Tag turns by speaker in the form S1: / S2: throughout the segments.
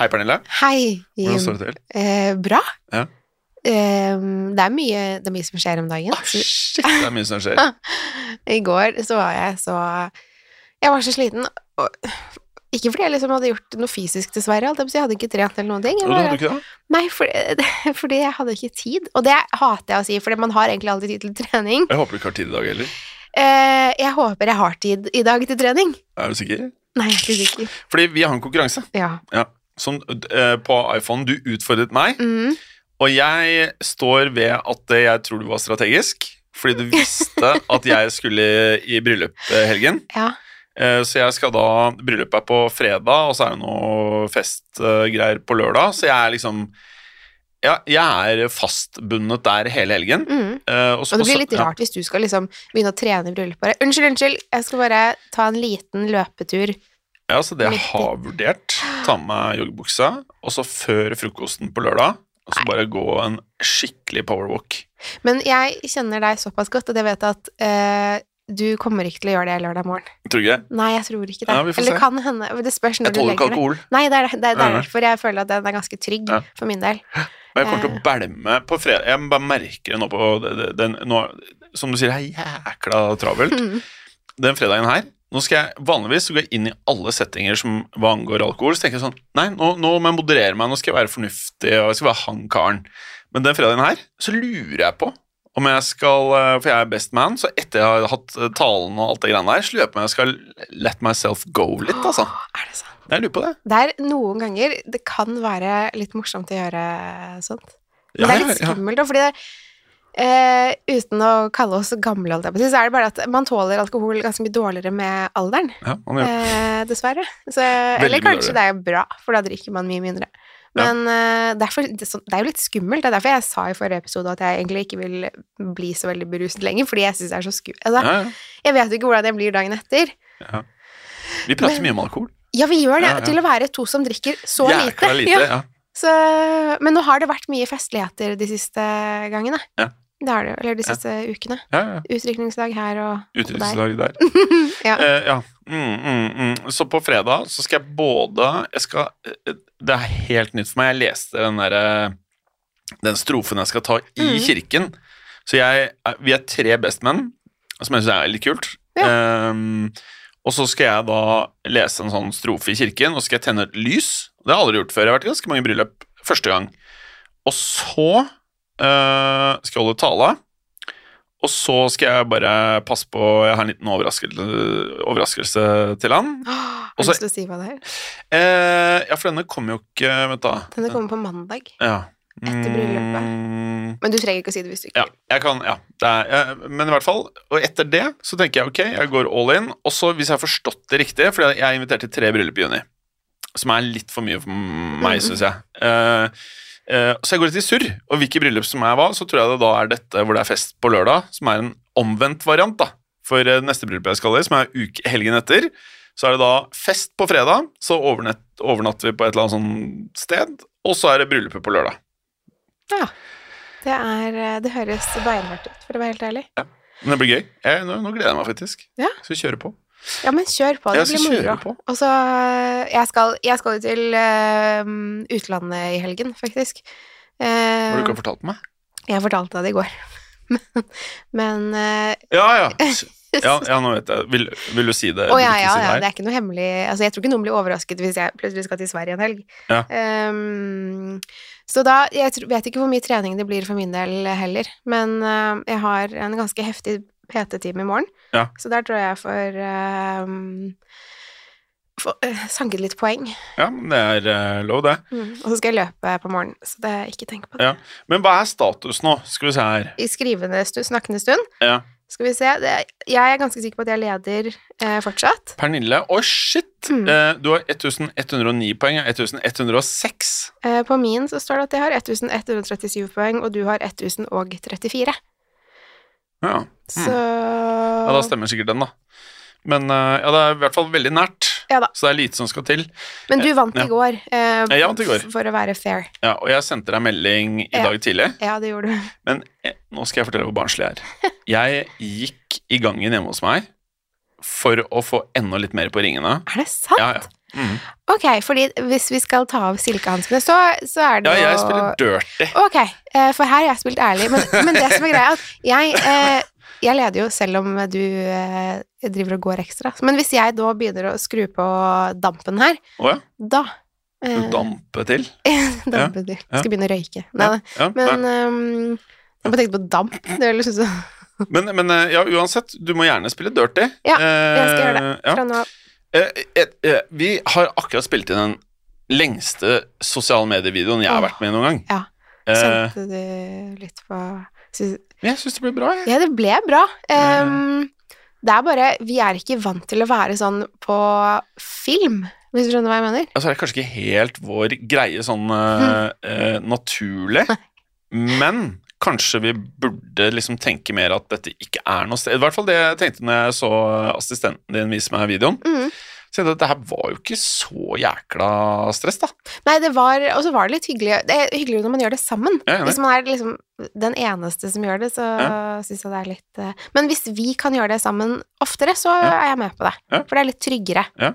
S1: Hei, Pernille.
S2: Hei, Jim.
S1: Hvordan står det til?
S2: Eh, bra.
S1: Ja.
S2: Eh, det, er mye, det er mye som skjer om dagen.
S1: Ah, shit, det er mye som skjer.
S2: I går så var jeg så Jeg var så sliten. Og, ikke fordi jeg liksom hadde gjort noe fysisk, dessverre. Alt. Jeg hadde ikke trent eller noen ting.
S1: Og
S2: Jeg
S1: du hadde
S2: bare-
S1: du ikke det?
S2: Nei, fordi, fordi jeg hadde ikke tid. Og det hater jeg å si, for man har egentlig alltid tid til trening.
S1: Jeg håper du ikke har tid i dag heller.
S2: Eh, jeg håper jeg har tid i dag til trening.
S1: Er du sikker?
S2: Nei, jeg er ikke sikker.
S1: Fordi vi har en konkurranse
S2: Ja.
S1: som, eh, på iPhone. Du utfordret meg,
S2: Mm.
S1: og jeg står ved at eh, jeg tror du var strategisk. Fordi du visste at jeg skulle i bryllup eh, helgen.
S2: Ja.
S1: Eh, Så jeg skal da Bryllupet er på fredag, og så er det noe festgreier på lørdag. Så jeg er liksom ja, Jeg er fastbundet der hele helgen.
S2: Mm.
S1: Eh, så
S2: Og
S1: på
S2: det blir
S1: sø-
S2: litt rart hvis du skal liksom begynne å trene i bryllupet. bare, Unnskyld, unnskyld, jeg skal bare ta en liten løpetur.
S1: Ja, ja, så det jeg
S2: Midt i.
S1: har vurdert, ta med meg joggebuksa, og så før frokosten på lørdag, og så bare gå en skikkelig powerwalk.
S2: Men jeg kjenner deg såpass godt at jeg vet at eh, du kommer ikke til å gjøre det lørdag morgen.
S1: Tror du ikke det?
S2: Nei, jeg tror ikke det.
S1: Ja, vi får
S2: Eller
S1: se.
S2: kan hende. men Det spørs når
S1: Jeg
S2: du
S1: tåler ikke
S2: legger deg.
S1: alkohol,
S2: Nei, det er det- det er
S1: Nei, nei.
S2: derfor jeg føler at den er ganske trygg
S1: Ja.
S2: for min del.
S1: og jeg kommer til å bælme på fredag. Jeg bare merker det nå på det- det- den, nå, Som du sier, det er jækla travelt.
S2: Mm.
S1: den fredagen her nå skal jeg, Vanligvis så går jeg inn i alle settinger som hva angår alkohol. Så tenker jeg sånn Nei, nå, nå må jeg moderere meg, nå skal jeg være fornuftig, og jeg skal være han karen. Men den fredagen her så lurer jeg på om jeg skal eh, For jeg er best man, så etter jeg har hatt eh, talen og alt det greiene der, så lurer jeg på om jeg skal let myself go litt, altså.
S2: Er det sant?
S1: Jeg lurer på det.
S2: Det er noen ganger det kan være litt morsomt å gjøre sånt. Men det er litt
S1: ja.
S2: skummelt, da, fordi det eh, uten å kalle oss gamle, holdt jeg på å si, så er det bare at man tåler alkohol ganske mye dårligere med alderen,
S1: ja, man gjør.
S2: eh, dessverre. Så, eller
S1: mye
S2: kanskje
S1: dårligere.
S2: det er bra, for da drikker man mye mindre.
S1: Ja.
S2: Men eh, derfor, det, er sånn- det er jo litt skummelt. Det er derfor jeg sa i forrige episode at jeg egentlig ikke vil bli så veldig beruset lenger, fordi jeg syns det er så skummelt.
S1: det.
S2: Altså,
S1: Ja, ja.
S2: jeg vet jo ikke hvordan jeg blir dagen etter.
S1: ja. Vi prater mye om alkohol.
S2: Ja, vi gjør det,
S1: Ja, ja.
S2: til å være to som drikker så lite.
S1: Jækla lite.
S2: Ja.
S1: Ja.
S2: Så, men nå har det vært mye festligheter de siste gangene.
S1: Ja.
S2: Det har det, eller de
S1: Ja.
S2: siste ukene.
S1: Ja, ja.
S2: Utrykningsdag her og
S1: Utdrikningslag der.
S2: Ja.
S1: Eh, ja. Mm, mm, mm. Så på fredag så skal jeg både jeg skal, eh, Det er helt nytt for meg. Jeg leste den derre Den strofen jeg skal ta i
S2: Mm.
S1: kirken. Så jeg, vi er tre bestmenn, som jeg syns er litt kult. Ehm, og så skal jeg da lese en sånn strofe i kirken, og så skal jeg tenne et lys. Det har jeg aldri gjort før. Jeg har vært i ganske mange bryllup første gang. Og så eh, skal jeg holde tale. Og så skal jeg bare passe på Jeg har en liten overraskelse, overraskelse til han.
S2: Åh, Har
S1: Og
S2: du
S1: så-
S2: lyst til å si hva det er?
S1: Eh, ja, for denne kommer jo ikke Vent, da.
S2: Denne kommer på mandag.
S1: ja.
S2: etter bryllupet.
S1: Mm,
S2: Men du trenger ikke å si det hvis du ikke
S1: ja, jeg kan Ja. Det er, eh, men i hvert fall Og etter det så tenker jeg ok, jeg går all in. Og så, hvis jeg har forstått det riktig For jeg er invitert til tre bryllup i juni. Som er litt for mye for meg,
S2: Mm.
S1: syns jeg. Eh, eh, så jeg går litt i surr. Og hvilke bryllup som er hva, så tror jeg det da er dette hvor det er fest på lørdag, som er en omvendt variant, da. For eh, neste bryllup jeg skal i, som er uke, helgen etter, så er det da fest på fredag, så overnett, overnatter vi vil på et eller annet sånt sted, og så er det bryllupet på lørdag.
S2: vil. Det, er, eh, det høres beinhardt ut, for å være helt ærlig.
S1: Men det blir gøy. Jeg, nå, nå gleder jeg meg faktisk.
S2: Ja.
S1: Skal vi kjøre på?
S2: Ja, men kjør på. Det
S1: jeg
S2: blir
S1: skal kjøre
S2: moro.
S1: på.
S2: Og så eh, Jeg skal jeg skal jo til eh, utlandet i helgen, faktisk. Eh,
S1: Har du ikke fortalt meg?
S2: jeg fortalte deg det i går. Men, men eh,
S1: Ja, ja. Ja, ja nå vet jeg. Vil, vil du si det?
S2: Å
S1: Vil du
S2: ja,
S1: ikke si
S2: ja, ja,
S1: det
S2: det
S1: her?
S2: er ikke noe hemmelig Altså, jeg tror ikke noen blir overrasket hvis jeg plutselig skal til Sverige en helg.
S1: Ja.
S2: Ehm, så da Jeg tr- vet ikke hvor mye trening det blir for min del heller, men eh, jeg har en ganske heftig PT-time i morgen,
S1: Ja.
S2: så der tror jeg jeg får ehm, få- eh, sanket litt poeng. Mm.
S1: Ja, men det er eh, lov, det.
S2: Og så skal jeg løpe på morgenen, så det ikke tenk på det.
S1: Ja. Men hva er status nå? Skal vi se her.
S2: I skrivende stund, snakkende stund,
S1: Ja.
S2: skal vi se det, Jeg er ganske sikker på at jeg leder eh, fortsatt.
S1: Pernille, å shit!
S2: Mm.
S1: Eh, du har 1109 poeng, jeg har 1106.
S2: Eh, På min så står det at jeg har 1137 poeng, og du har 1034.
S1: Ja.
S2: Så
S1: Mm. ja, da stemmer sikkert den, da. Men eh, ja, det er i hvert fall veldig nært.
S2: Ja da.
S1: Så det er lite som skal til.
S2: Men du vant
S1: Ja.
S2: i går, eh,
S1: Jeg vant i går.
S2: f- for å være fair.
S1: Ja, og jeg sendte deg melding i
S2: Ja.
S1: dag tidlig.
S2: Ja, det gjorde du.
S1: Men eh, nå skal jeg fortelle hvor barnslig jeg er. Jeg gikk i gangen hjemme hos meg for å få enda litt mer på ringene.
S2: Er det sant?
S1: Ja, ja. Mm.
S2: Ok, fordi hvis vi skal ta av silkehanskene, så, så er det
S1: Ja, jeg
S2: å-
S1: spiller dirty.
S2: Ok, eh, for her har jeg spilt ærlig, men, men det som er greia, er at jeg, eh, jeg leder jo selv om du eh, driver og går ekstra. Men hvis jeg da begynner å skru på dampen her,
S1: Å ja.
S2: da
S1: Du
S2: eh,
S1: damper til.
S2: Dampen, du.
S1: ja.
S2: Skal begynne å røyke. Nei, da.
S1: Ja,
S2: men ehm, jeg bare tenkte på damp. Det er liksom sånn
S1: nei. men, men eh, ja, uansett, du må gjerne spille dirty.
S2: Ja,
S1: jeg
S2: skal gjøre
S1: Ja.
S2: fra nå av.
S1: Eh, et- eh, vi har akkurat spilt inn den lengste sosiale medievideoen jeg har
S2: Åh,
S1: vært med i noen gang.
S2: ja.
S1: Eh,
S2: Kjente du litt på synes,
S1: men jeg syns det ble bra, jeg.
S2: Ja, det ble bra. Ehm, det er bare Vi er ikke vant til å være sånn på film, hvis du skjønner hva jeg mener.
S1: Altså, det er kanskje ikke helt vår greie sånn eh, eh, naturlig, men kanskje vi burde liksom tenke mer at dette ikke er noe sted. I hvert fall det jeg tenkte når jeg så assistenten din vise meg videoen.
S2: Mm.
S1: Så jeg tenkte at det her var jo ikke så jækla stress, da.
S2: Nei, det var Og så var det litt hyggelig. Det er hyggeligere når man gjør det sammen.
S1: Jeg er enig.
S2: Hvis man er liksom den eneste som gjør det, så syns jeg det er litt eh, Men hvis vi kan gjøre det sammen oftere, så
S1: Ja.
S2: er jeg med på det.
S1: Ja.
S2: For det er litt tryggere.
S1: Ja.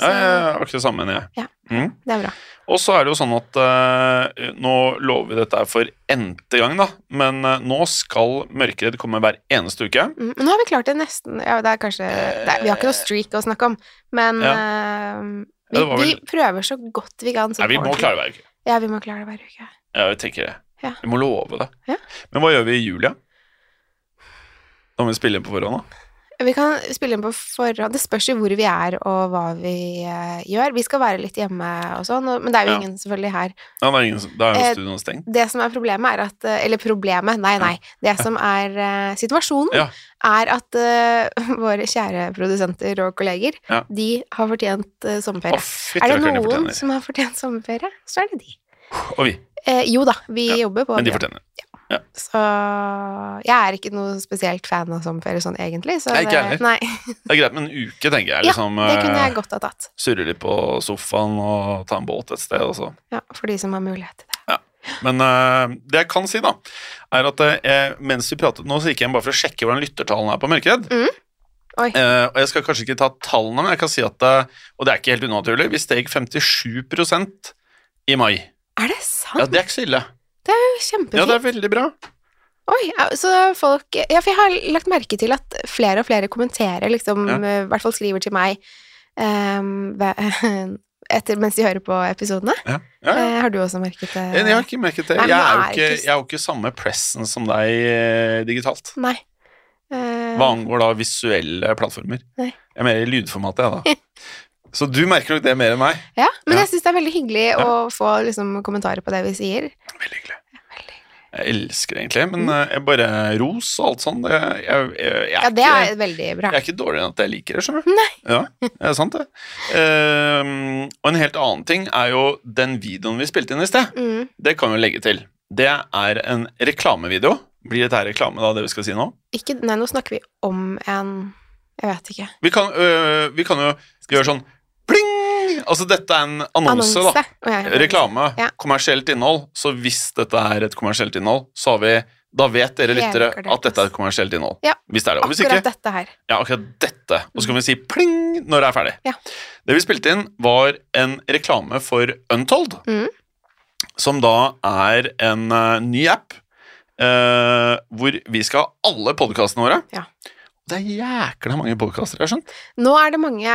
S2: Så
S1: Jeg er akkurat det samme, jeg.
S2: Ja.
S1: Mm.
S2: det er bra.
S1: Og så er det jo sånn at eh, nå lover vi dette her for n-te gang, da. Men eh, nå skal Mørkeredd komme hver eneste uke.
S2: Mm, Men nå har vi klart det nesten ja, det er kanskje, det er, Vi har ikke noe streak å snakke om, men eh,
S1: Ja,
S2: vi,
S1: det var vel-
S2: vi prøver så godt vi kan. sånn
S1: Nei, vi må
S2: ordentlig.
S1: klare hver uke.
S2: Ja, vi må klare det hver uke.
S1: Ja, jeg tenker det.
S2: Ja.
S1: Vi må love det.
S2: Ja.
S1: Men hva gjør vi i jula? Da må vi spille inn på forhånd, da.
S2: Vi kan spille inn på forhånd. Det spørs jo hvor vi er og hva vi eh, gjør. Vi skal være litt hjemme og sånn, og- men det er jo
S1: Ja.
S2: ingen selvfølgelig her.
S1: Ja, da er, ingen, som- da er
S2: Eh,
S1: jo studioet stengt.
S2: Det som er problemet er at eh, Eller problemet, nei, nei. Det som er eh, situasjonen,
S1: Ja.
S2: er at eh, våre kjære produsenter og kolleger,
S1: Ja.
S2: de har fortjent eh,
S1: Å,
S2: sommerferie.
S1: fytti
S2: er det
S1: rakkeren, de
S2: noen
S1: fortjener.
S2: som har fortjent sommerferie, så er det de.
S1: Og vi.
S2: Eh, jo da, vi
S1: Ja,
S2: jobber på
S1: Men de
S2: det.
S1: fortjener.
S2: Så jeg er ikke noe spesielt fan av sommerferie sånn egentlig. Så
S1: Nei, ikke
S2: det-
S1: heller.
S2: nei,
S1: Det er greit med en uke, tenker jeg.
S2: Ja,
S1: Liksom,
S2: det kunne
S1: eh,
S2: jeg godt ha tatt.
S1: Surre litt på sofaen og ta en båt et sted, og så
S2: Ja, for de som har mulighet til det.
S1: Men eh, det jeg kan si, da, er at eh, mens vi pratet nå, så gikk jeg inn bare for å sjekke hvordan lyttertallene er på Mørkeredd.
S2: Mm. Oi.
S1: Eh, og jeg skal kanskje ikke ta tallene, men jeg kan si at eh, Og det er ikke helt unaturlig. Vi steg 57 i mai.
S2: Er det
S1: Ja,
S2: sant?
S1: det er ikke så ille.
S2: Kjempefint.
S1: Ja, det er veldig bra.
S2: Oi, ja, så folk Ja, for jeg har lagt merke til at flere og flere kommenterer, liksom,
S1: Ja.
S2: eh, i hvert fall skriver til meg ehm, hva- etter, mens de hører på episodene.
S1: Ja. Ja, ja.
S2: Eh, har du også merket det?
S1: Jeg har ikke merket det.
S2: Nei, men
S1: Jeg er jo
S2: det er
S1: ikke,
S2: ikke-
S1: jeg er jo ikke samme pressen som deg eh, digitalt.
S2: Nei. Eh,
S1: Hva angår da visuelle plattformer.
S2: Nei.
S1: Jeg er mer i lydformatet, jeg, da. Så du merker nok det mer enn meg.
S2: ja, men
S1: Ja.
S2: jeg syns det er veldig hyggelig å få liksom, kommentarer på det vi sier.
S1: Veldig hyggelig. Jeg elsker det egentlig, men eh, jeg bare ros og alt sånt. Jeg, jeg, jeg, jeg,
S2: Mm. Ja,
S1: er
S2: det
S1: ikke,
S2: er veldig bra.
S1: jeg er ikke dårligere enn at jeg liker det, skjønner du. Ja, det er sant, det. Ehm, og en helt annen ting er jo den videoen vi spilte inn i sted.
S2: Mm.
S1: Det kan vi jo legge til. Det er en reklamevideo. Blir dette her reklame, da, det vi skal si nå?
S2: Ikke Nei, nå snakker vi om en Jeg vet ikke.
S1: Vi kan, øh, vi kan jo gjøre sånn pling! Altså, dette er en annonse, da.
S2: Å, ja, ja.
S1: Reklame.
S2: Ja.
S1: Kommersielt innhold. Så hvis dette er et kommersielt innhold, så har vi Da vet dere
S2: Helt
S1: lyttere
S2: korrekt.
S1: at dette er et kommersielt innhold.
S2: Ja.
S1: Hvis det er det. Og hvis ikke,
S2: Akkurat dette her.
S1: ja, akkurat dette. Og så kan vi si pling når det er ferdig.
S2: Ja.
S1: Det vi spilte inn, var en reklame for Untold,
S2: Mhm.
S1: som da er en eh, ny app eh, hvor vi skal ha alle podkastene våre.
S2: Ja.
S1: Det er jækla mange podkaster, jeg har skjønt.
S2: Nå er det mange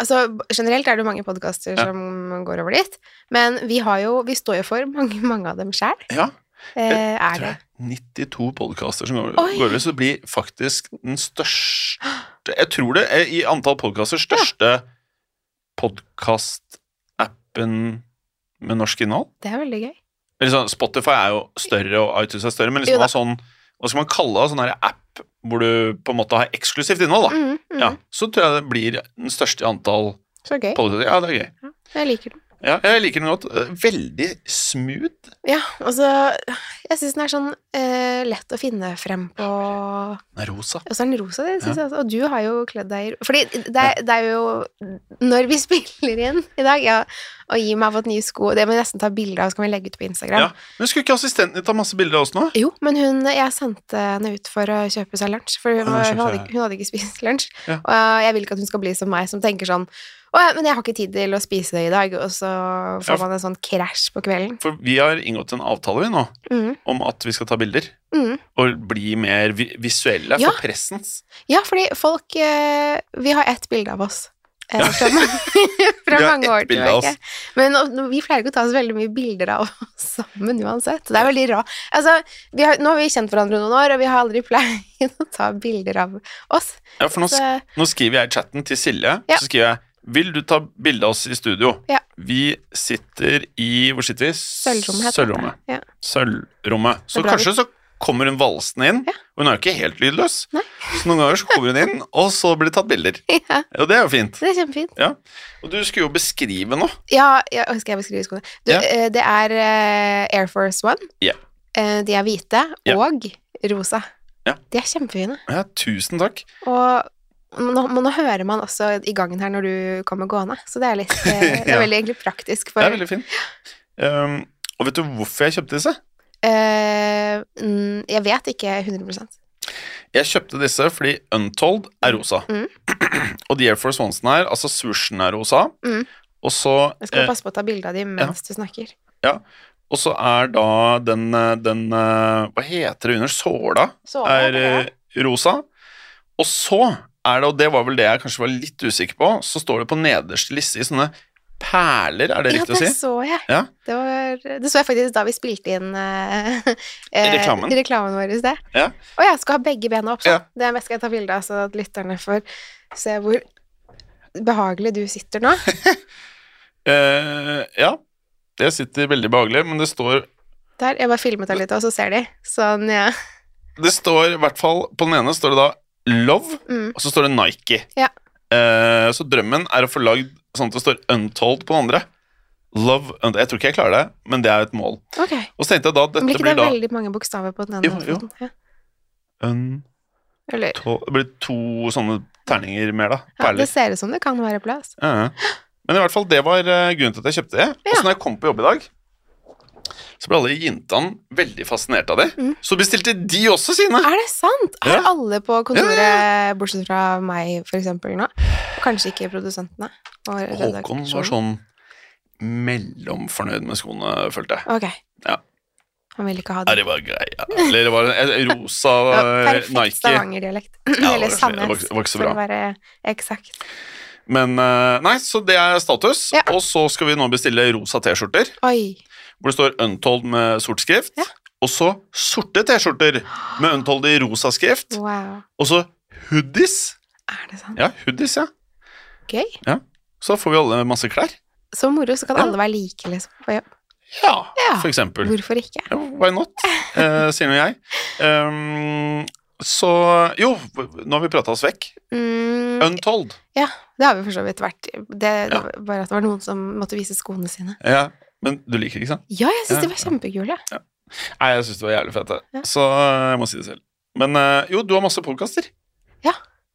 S2: Altså generelt er det mange podkaster
S1: Ja.
S2: som går over dit, men vi har jo Vi står jo for mange, mange av dem sjæl.
S1: Ja,
S2: Eh, er
S1: tror
S2: det
S1: jeg. 92 podkaster som går
S2: Oi.
S1: går over, så det blir faktisk den største Jeg tror det er i antall podkaster største podkastappen med norsk innhold.
S2: Det er veldig gøy.
S1: Eller sånn, Spotify er jo større, og iTunes er større, men
S2: Jo
S1: liksom
S2: da.
S1: ha sånn Hva skal man kalle det? Sånn her app hvor du på en måte har eksklusivt innhold, da.
S2: Mm, mm,
S1: Ja, så tror jeg det blir den største i antall
S2: Så gøy.
S1: podkaster. Ja, det er gøy.
S2: Jeg liker den.
S1: Ja, jeg liker den godt. Eh, Veldig smooth.
S2: Ja, og så Jeg syns den er sånn eh, lett å finne frem på Og
S1: Den er rosa.
S2: så er den rosa, det syns jeg også. Og du har jo kledd deg i ro- Fordi det, er- det er jo Når vi spiller inn i dag, ja, og Jim har fått nye sko Det må vi nesten ta bilde av, så kan vi legge ut på Instagram.
S1: Ja. Men skulle ikke assistenten din ta masse bilder av oss nå?
S2: Jo, men hun, jeg sendte henne ut for å kjøpe seg lunsj, for hun,
S1: Ja, kjøpte
S2: var- hun, hadde,
S1: Ah, seg-
S2: ikke- hun hadde ikke spist lunsj.
S1: Ja.
S2: Og jeg vil ikke at hun skal bli som meg, som tenker sånn Å, ja, men jeg har ikke tid til å spise det i dag, og så
S1: Ja,
S2: får
S1: for-
S2: man en sånn krasj på kvelden.
S1: For vi har inngått en avtale vi nå
S2: Mm,
S1: om at vi skal ta bilder
S2: mm.
S1: og bli mer vi visuelle
S2: Ja.
S1: for pressens.
S2: Ja, fordi folk eh, Vi har ett bilde av oss. eh, Fra, ma- fra
S1: Vi har
S2: mange
S1: ett
S2: år
S1: bilde av
S2: tilbake. Men nå- vi pleier ikke å ta så veldig mye bilder av oss sammen uansett. Det er veldig rart. Altså, vi har, nå har vi kjent hverandre noen år, og vi har aldri pleid å ta bilder av oss.
S1: Ja, for nå,
S2: Så, eh,
S1: sk nå skriver jeg i chatten til Silje,
S2: Ja.
S1: så skriver jeg Vil du ta bilde av oss i studio?
S2: Ja.
S1: Vi sitter i Hvor sitter vi?
S2: sølvrommet heter
S1: Sølvrommet.
S2: det. Ja.
S1: Sølvrommet. Så
S2: Det er bra
S1: kanskje så kommer hun valsende inn,
S2: Ja.
S1: og hun er jo ikke helt lydløs.
S2: Nei.
S1: Så noen ganger så kommer hun inn, og så blir det tatt bilder.
S2: ja,
S1: Og det er jo fint.
S2: det er kjempefint.
S1: Og du skulle jo beskrive noe.
S2: Ja, ja å, skal jeg beskrive skoene? Du,
S1: Ja.
S2: eh, det er eh, Air Force One.
S1: Ja.
S2: Eh, de er hvite
S1: Ja.
S2: og rosa.
S1: Ja.
S2: De er kjempefine.
S1: Ja, tusen takk.
S2: Og nå, men nå hører man også i gangen her når du kommer gående, så det er, litt, eh, det
S1: Ja.
S2: er veldig egentlig praktisk for
S1: Det er veldig fint. Um, og vet du hvorfor jeg kjøpte disse?
S2: Eh, mm, Jeg vet ikke 100
S1: Jeg kjøpte disse fordi Untold er rosa.
S2: Mm.
S1: og de Air Force Onesene her, altså swooshen er rosa.
S2: Mm.
S1: Og så
S2: Jeg skal
S1: eh,
S2: passe på å ta bilde av dem mens du snakker.
S1: og så er da den, eh, den eh, Hva heter det under såla?
S2: Så,
S1: Er
S2: ja.
S1: eh, rosa. Og så er det, og det var vel det jeg kanskje var litt usikker på, så står det på nederste liste i sånne perler, er det
S2: Ja,
S1: riktig å si?
S2: det så jeg.
S1: Ja.
S2: Det, var, det så jeg faktisk da vi spilte inn eh, eh,
S1: Reklamen.
S2: reklamen vår i sted.
S1: Ja.
S2: Å ja, skal ha begge bena opp
S1: Ja.
S2: sånn. Det skal jeg ta bilde av, så at lytterne får se hvor behagelig du sitter nå.
S1: Eh, ja. Det sitter veldig behagelig, men det står
S2: Der, Jeg bare filmet deg litt, og så ser de. Sånn, ja.
S1: Det står i hvert fall På den ene står det da Love,
S2: Mm.
S1: og så står det Nike.
S2: Ja.
S1: Eh, så drømmen er å få lagd sånn at det står Untold på den andre. Love Untold. Jeg tror ikke jeg klarer det, men det er et mål.
S2: Ok.
S1: Og så tenkte jeg da at
S2: Blir
S1: dette
S2: ikke
S1: blir
S2: det
S1: da
S2: veldig mange bokstaver på den ene
S1: Jo, jo.
S2: foten? Ja.
S1: Untold
S2: Eller,
S1: Det blir to sånne terninger mer, da.
S2: ja, det
S1: Perler.
S2: ser ut som det kan være plass.
S1: Ja. Men i hvert fall, det var eh, grunnen til at jeg kjøpte det. Og
S2: Ja.
S1: så når jeg kom på jobb i dag, så ble alle jintene veldig fascinert av det.
S2: Mm.
S1: Så bestilte de også sine.
S2: Ah, Er det sant? Har
S1: Ja.
S2: alle på kontoret,
S1: Ja,
S2: bortsett fra meg for eksempel nå, og kanskje ikke produsentene? Og
S1: Håkon var
S2: redaksjonen?
S1: sånn mellomfornøyd med skoene, følte jeg.
S2: Ok.
S1: Ja.
S2: Han vil ikke ha
S1: Ja,
S2: det.
S1: det var greia. Eller det var en en rosa
S2: Det var
S1: eh,
S2: perfekt
S1: Nike.
S2: Stavanger-dialekt.
S1: var ikke-
S2: Eller
S1: det var
S2: Sandnes,
S1: ikke- det var ikke så
S2: for å
S1: bra.
S2: være eksakt.
S1: Men eh, nei, så det er status.
S2: Ja.
S1: Og så skal vi nå bestille rosa T-skjorter,
S2: Oi.
S1: hvor det står Untold med sort skrift.
S2: Ja.
S1: Og så sorte T-skjorter med Untold i rosa skrift.
S2: Wow.
S1: Og så hoodies.
S2: Er det sant?
S1: Ja, hoodies, ja.
S2: Gøy.
S1: Så får vi alle masse klær.
S2: Så moro, så kan
S1: Ja.
S2: alle være like, liksom. på jobb.
S1: Ja,
S2: Ja.
S1: for eksempel.
S2: Hvorfor ikke?
S1: Ja, why not, eh, sier nå jeg. Ehm, så Jo, nå har vi prata oss vekk.
S2: Mm,
S1: Untold.
S2: Det har vi for så vidt vært. Det, det
S1: Ja.
S2: var bare at det var noen som måtte vise skoene sine.
S1: Ja, men du liker det, ikke sant?
S2: Ja, jeg
S1: Ja,
S2: syns de var kjempekule.
S1: Nei, jeg syns det var jævlig fett, det.
S2: Ja.
S1: Så eh, jeg må si det selv. Men eh, jo, du har masse podkaster.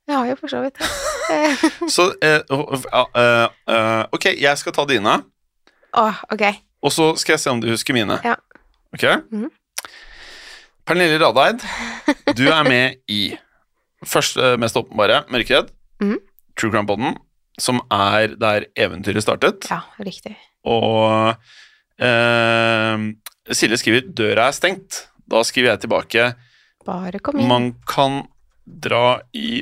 S2: Jeg har jo for så vidt det.
S1: Så eh, ja, eh, eh, Ok, jeg skal ta dine,
S2: Åh, ok.
S1: og så skal jeg se om du husker mine.
S2: Ja.
S1: Ok?
S2: Mhm.
S1: Pernille Radeid, du er med i først eh, mest åpenbare, Mørkeredd,
S2: Mhm.
S1: True Crime Podden, som er der eventyret startet.
S2: Ja, riktig.
S1: Og eh, Silje skriver 'Døra er stengt'. Da skriver jeg tilbake
S2: Bare kom inn.
S1: Man kan dra i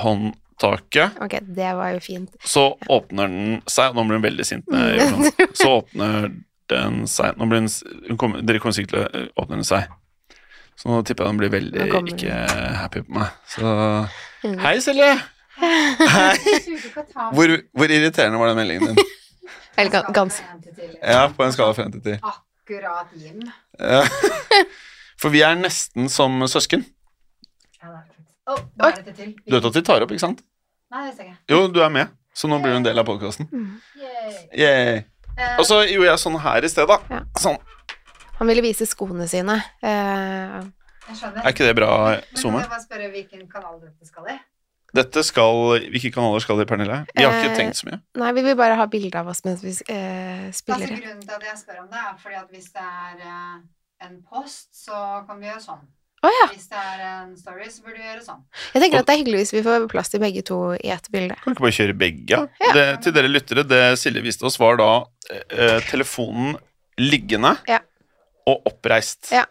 S1: dørhåndtaket,
S2: Ok, det var jo fint.
S1: så åpner den seg og Nå blir hun veldig sint. når jeg gjør sånn. Så åpner den seg Nå blir hun, s- hun kommer- Dere kommer sikkert til å åpne den seg. Så nå tipper jeg hun blir veldig
S2: Nå kommer
S1: ikke happy på meg. Så
S2: Mm.
S1: Hei, Silje! Hei! Hvor, hvor irriterende var den meldingen din?
S2: Eller gan- ganske.
S1: Ja, på en skala fra 1 til 10.
S3: Akkurat Jim.
S1: Ja. For vi er nesten som søsken.
S3: Å, nå er dette til.
S1: Du vet at vi tar opp, ikke sant?
S3: Nei, det ser jeg ikke.
S1: Jo, du er med, så nå blir du en del av podkasten.
S2: Mm.
S3: Yay.
S1: Yeah.
S3: Eh,
S1: Og så gjorde jeg sånn her i sted, da.
S2: Ja.
S1: Sånn.
S2: Han ville vise skoene sine. Eh,
S3: jeg skjønner.
S1: Er ikke det bra,
S3: Men kan
S1: SoMe?
S3: jeg bare spørre hvilken kanal dette skal i?
S1: Dette skal Hvilke kanaler skal det, Pernille? Vi har ikke
S2: Eh,
S1: tenkt så mye.
S2: nei, vi vil bare ha bilde av oss mens vi eh,
S3: Altså,
S2: spiller. inn.
S3: grunnen til at jeg spør om det, er fordi at hvis det er eh, en post, så kan vi gjøre sånn.
S2: Å ja.
S3: Hvis det er en story, så burde du gjøre sånn.
S2: Jeg tenker at det er hyggelig hvis vi får plass til begge to i ett bilde.
S1: Kan vi ikke bare kjøre begge?
S2: Ja.
S1: Det, til dere lyttere, det Silje viste oss, var da eh, telefonen liggende
S2: Ja.
S1: og oppreist.
S2: Ja.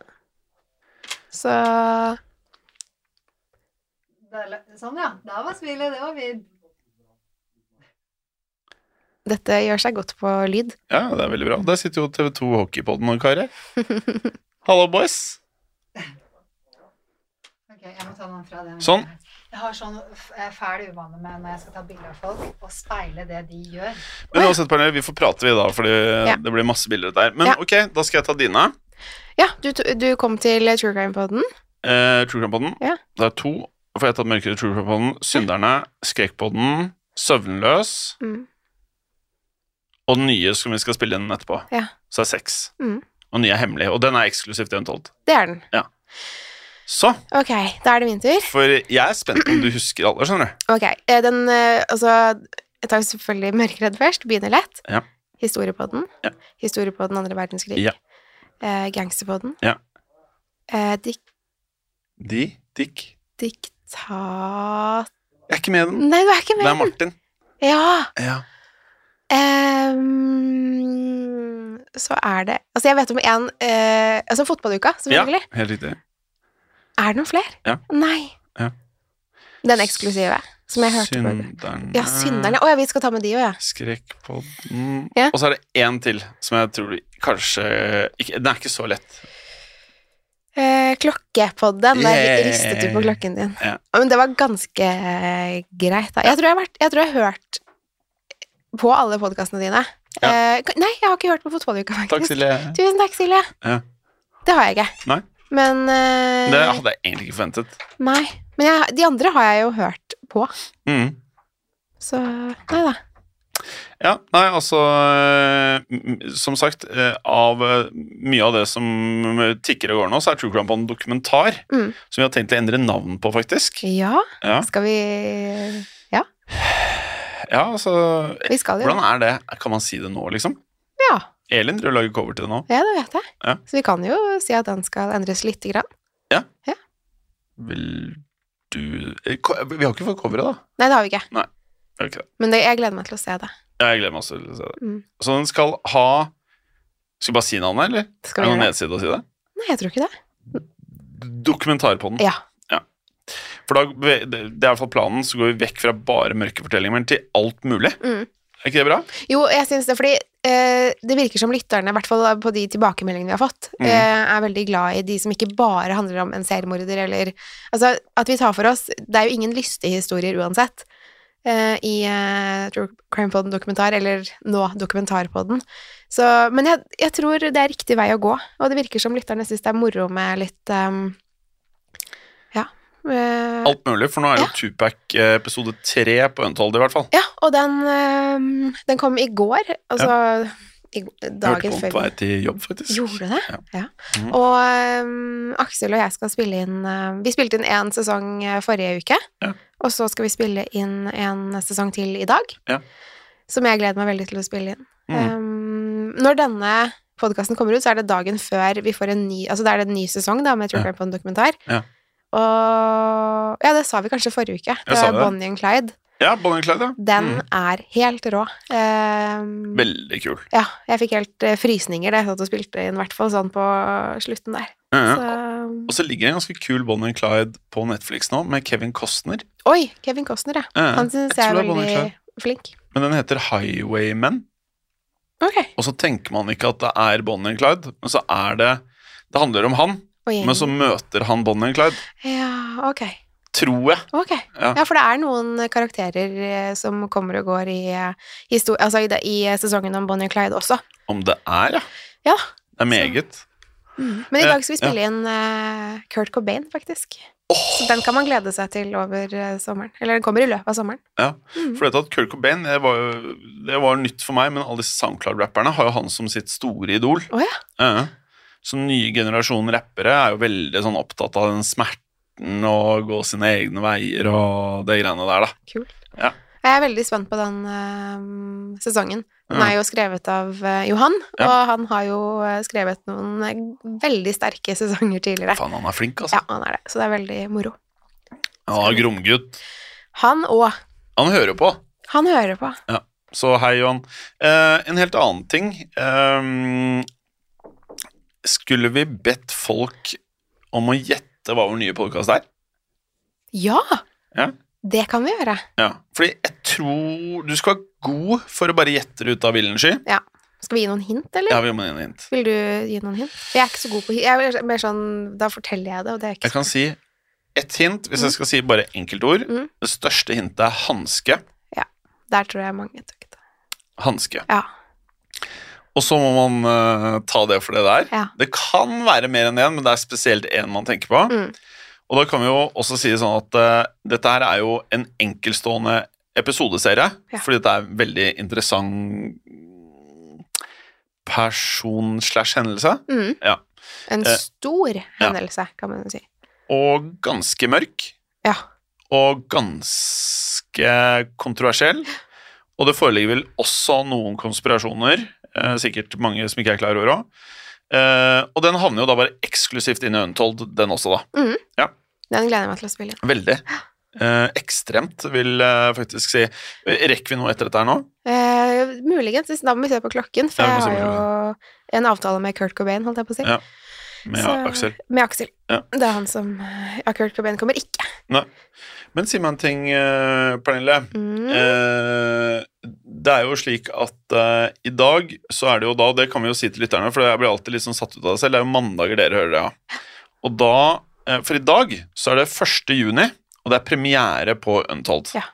S2: Så
S3: Da er det- Sånn, ja. Da var smilet, det var vi.
S2: dette gjør seg godt på lyd.
S1: Ja, det er veldig bra. Der sitter jo TV2 Hockeypodden og karer. Hallo, boys.
S3: Ok, jeg må ta noen fra den.
S1: Sånn.
S3: Jeg har sånn f- eh, fæl uvane med når jeg skal ta bilder av folk, og speile det de gjør.
S1: Men uansett, Pernille, vi får prate vi da, fordi
S2: Ja.
S1: det blir masse bilder der. Men
S2: Ja.
S1: ok, da skal jeg ta dine.
S2: Ja, du, to- du kom til True Crime-poden.
S1: Eh, True Crime-podden.
S2: Ja.
S1: Det er to. For jeg har tatt Mørkere True Crime-podden, Synderne, Skrekkpodden, Søvnløs
S2: Mm.
S1: og den nye som vi skal spille inn etterpå.
S2: Ja.
S1: Så er seks.
S2: Mm.
S1: Og den nye er hemmelig. Og den er eksklusivt eventuelt.
S2: Det er den.
S1: Så
S2: Ok, da er det min tur.
S1: For jeg er spent på om du husker alle, skjønner du.
S2: Ok, eh, den eh, Altså, jeg tar jo selvfølgelig Mørkeredd først. Begynner lett.
S1: Ja.
S2: Historiepodden.
S1: Ja.
S2: Historiepodden andre verdenskrig.
S1: Ja.
S2: Eh, gangsterpodden.
S1: Ja.
S2: Eh, dik
S1: De, Dick
S2: diktat...
S1: Jeg er ikke med i den.
S2: Nei, du er ikke
S1: Det er
S2: med!
S1: Martin.
S2: Ja!
S1: Ja.
S2: Ehm, så er det Altså, jeg vet om én Altså, fotballuka,
S1: ja.
S2: selvfølgelig.
S1: Helt riktig.
S2: Er det noen flere?
S1: Ja.
S2: Nei.
S1: Ja.
S2: Den eksklusive, som jeg hørte på.
S1: Synderne.
S2: Ja, Synderne. Å ja, vi skal ta med de òg, ja.
S1: Skrekkpodden
S2: Ja.
S1: Og så er det én til som jeg tror du kanskje ikke, Den er ikke så lett.
S2: Eh, klokkepodden. Der
S1: Yeah.
S2: ristet du på klokken din.
S1: Ja.
S2: Men det var ganske eh, greit, da. Jeg tror jeg har, vært, jeg tror jeg har hørt på alle podkastene dine.
S1: Ja.
S2: Eh, kan- nei, jeg har ikke hørt på Fotballuka, faktisk.
S1: Takk, Silje.
S2: Tusen takk, Silje.
S1: Ja.
S2: Det har jeg ikke.
S1: Nei.
S2: Men eh,
S1: Det hadde jeg egentlig ikke forventet.
S2: Nei. Men jeg, de andre har jeg jo hørt på,
S1: Mm.
S2: så Nei da.
S1: Ja, nei, altså eh, m- Som sagt, eh, av eh, mye av det som eh, tikker og går nå, så er True Crime på en dokumentar
S2: Mm.
S1: som vi har tenkt å endre navn på, faktisk.
S2: Ja,
S1: Ja,
S2: skal vi
S1: ja altså
S2: Vi skal jo
S1: Hvordan er det? Kan man si det nå, liksom?
S2: Ja.
S1: Elin driver og lager cover til det nå.
S2: Ja, det vet jeg.
S1: Ja.
S2: Så vi kan jo si at den skal endres lite grann.
S1: Vil du eh, ko- Vi har ikke fått coveret, da.
S2: Nei, det har vi ikke.
S1: Har vi ikke det?
S2: Men det, jeg gleder meg til å se det.
S1: Ja, Jeg gleder meg også til å se det.
S2: Mm.
S1: Så den skal ha Skal vi bare si navnet, eller?
S2: Skal
S1: er
S2: vi
S1: det noen
S2: gjøre det?
S1: nedside å si det?
S2: Nei, jeg tror ikke det.
S1: Dokumentar på den.
S2: Ja.
S1: For da, det det er i hvert fall planen, så går vi vekk fra bare mørke fortellinger til alt mulig.
S2: Mm.
S1: Er ikke det bra?
S2: Jo, jeg syns det, fordi eh, det virker som lytterne, i hvert fall på de tilbakemeldingene vi har fått,
S1: Mm.
S2: eh, er veldig glad i de som ikke bare handler om en seriemorder, eller Altså, at vi tar for oss Det er jo ingen lystige historier uansett. eh, I eh, True Crime Poden dokumentar, eller nå Dokumentarpodden. Så, men jeg, jeg tror det er riktig vei å gå, og det virker som lytterne syns det er moro med litt ehm, Ja. eh,
S1: Alt mulig, for nå er jo Tupac eh, episode tre på Untold, i hvert fall.
S2: Ja, og den, øhm, den kom i går, altså i, g-
S1: Jeg
S2: dagen
S1: Hørte på den på
S2: før.
S1: vei til jobb, faktisk.
S2: Gjorde det?
S1: Ja.
S2: Ja.
S1: Mhm.
S2: Og øhm, Aksel og jeg skal spille inn øhm, Vi spilte inn én sesong øh, forrige uke,
S1: Ja.
S2: og så skal vi spille inn en sesong til i dag.
S1: Ja.
S2: Som jeg gleder meg veldig til å spille inn.
S1: Mm.
S2: Øhm, når denne podkasten kommer ut, så er det dagen før vi får en ny Altså da er det en ny sesong da, med True
S1: Ja.
S2: Crime på en dokumentar.
S1: Ja.
S2: Og Ja, det sa vi kanskje forrige uke. Det
S1: sa
S2: var
S1: vi det.
S2: Bonnie and Clyde.
S1: Ja, Bonnie and Clyde, ja.
S2: Den
S1: Mm.
S2: er helt rå. Ehm,
S1: Veldig kul.
S2: ja, jeg fikk helt eh, frysninger da jeg satt og spilte inn, i hvert fall sånn på slutten der.
S1: Ja, ja.
S2: Så,
S1: Og så ligger det en ganske kul Bonnie and Clyde på Netflix nå, med Kevin Costner.
S2: oi, Kevin Costner, ja.
S1: Eh,
S2: Han syns
S1: jeg tror
S2: jeg er
S1: det er Bonnie
S2: veldig
S1: Clyde.
S2: flink.
S1: Men den heter Highwaymen,
S2: Ok.
S1: og så tenker man ikke at det er Bonnie and Clyde, men så er det Det handler om han,
S2: Og
S1: men så
S2: gjengen.
S1: møter han Bonnie and Clyde.
S2: Ja, ok.
S1: Tror jeg.
S2: Ok.
S1: Ja.
S2: Ja, for det er noen karakterer eh, som kommer og går i, eh, histo- altså, i, det- i eh, sesongen om Bonnie og Clyde også.
S1: Om det er, ja.
S2: Ja.
S1: Det er meget.
S2: Men i
S1: Mm. Ja,
S2: dag skal vi spille inn eh, Kurt Cobain, faktisk. Så den kan man glede seg til over eh, sommeren. Eller den kommer i løpet av sommeren. Mm.
S1: For dette at Kurt Cobain det var, jo, det var nytt for meg, men alle disse SoundCloud-rapperne har jo han som sitt store idol.
S2: Å ja.
S1: Ja. Så nye generasjon rappere er jo veldig sånn opptatt av den smerten og gå sine egne veier og det greiene der, da.
S2: Kult.
S1: Ja.
S2: Jeg er veldig spent på den ehm, sesongen. Den er jo skrevet av eh, Johan,
S1: Mm. Ja.
S2: og han har jo eh, skrevet noen eh, veldig sterke sesonger tidligere.
S1: Faen, han er flink, altså.
S2: Ja, han er det. Så det er veldig moro.
S1: Ja, Gromgutt.
S2: Han òg.
S1: Han hører på.
S2: Han hører på.
S1: Så hei, Johan. Eh, en helt annen ting. Ehm, skulle vi bedt folk om å gjette hva vår nye podkast er?
S2: Ja!
S1: Ja.
S2: Det kan vi gjøre.
S1: Ja. Fordi jeg tror du skal være god for å bare gjette det ut av villen sky.
S2: Skal vi gi noen hint, eller?
S1: Ja, vi må gi en hint.
S2: Vil du gi noen hint? Jeg er ikke så god på hint. Jeg er mer sånn, da forteller jeg det, og det er ikke
S1: Jeg kan si ett hint, hvis jeg skal si bare enkeltord.
S2: Mm.
S1: Det største hintet er hanske.
S2: Der tror jeg mange tok det.
S1: Hanske.
S2: Ja.
S1: Og så må man eh, ta det for det der.
S2: Ja.
S1: Det kan være mer enn én, men det er spesielt én man tenker på.
S2: Mm.
S1: Og da kan vi jo også si sånn at eh, dette her er jo en enkeltstående episodeserie,
S2: Ja.
S1: fordi dette er en veldig interessant person slash hendelse,
S2: Mm.
S1: Ja.
S2: En
S1: Eh,
S2: stor hendelse, kan man si.
S1: og ganske mørk,
S2: Ja.
S1: og ganske kontroversiell. Og det foreligger vel også noen konspirasjoner, eh, sikkert mange som ikke er klar over òg. Eh, og den havner jo da bare eksklusivt inn i Untold, den også, da.
S2: Den gleder jeg meg til å spille inn.
S1: Veldig. Eh, ekstremt, vil jeg faktisk si. Rekker vi noe etter dette her nå?
S2: Eh, muligens. hvis- Da må vi se på klokken, for
S1: Ja, vi må
S2: jeg
S1: se
S2: har
S1: på
S2: jo en avtale med Kurt Cobain, holdt jeg på å si.
S1: Ja, Med
S2: Så-
S1: Aksel.
S2: Med Aksel.
S1: Ja.
S2: Det er han som Ja, Kurt Cobain kommer ikke.
S1: Men si meg en ting, eh, Pernille.
S2: Mm.
S1: Eh, det er jo slik at eh, i dag så er det jo da, og det kan vi jo si til lytterne, for jeg blir alltid litt sånn satt ut av det selv, det er jo mandager dere hører det, ja. Og da, eh, for i dag så er det 1. juni, og det er premiere på Untold.
S2: Ja.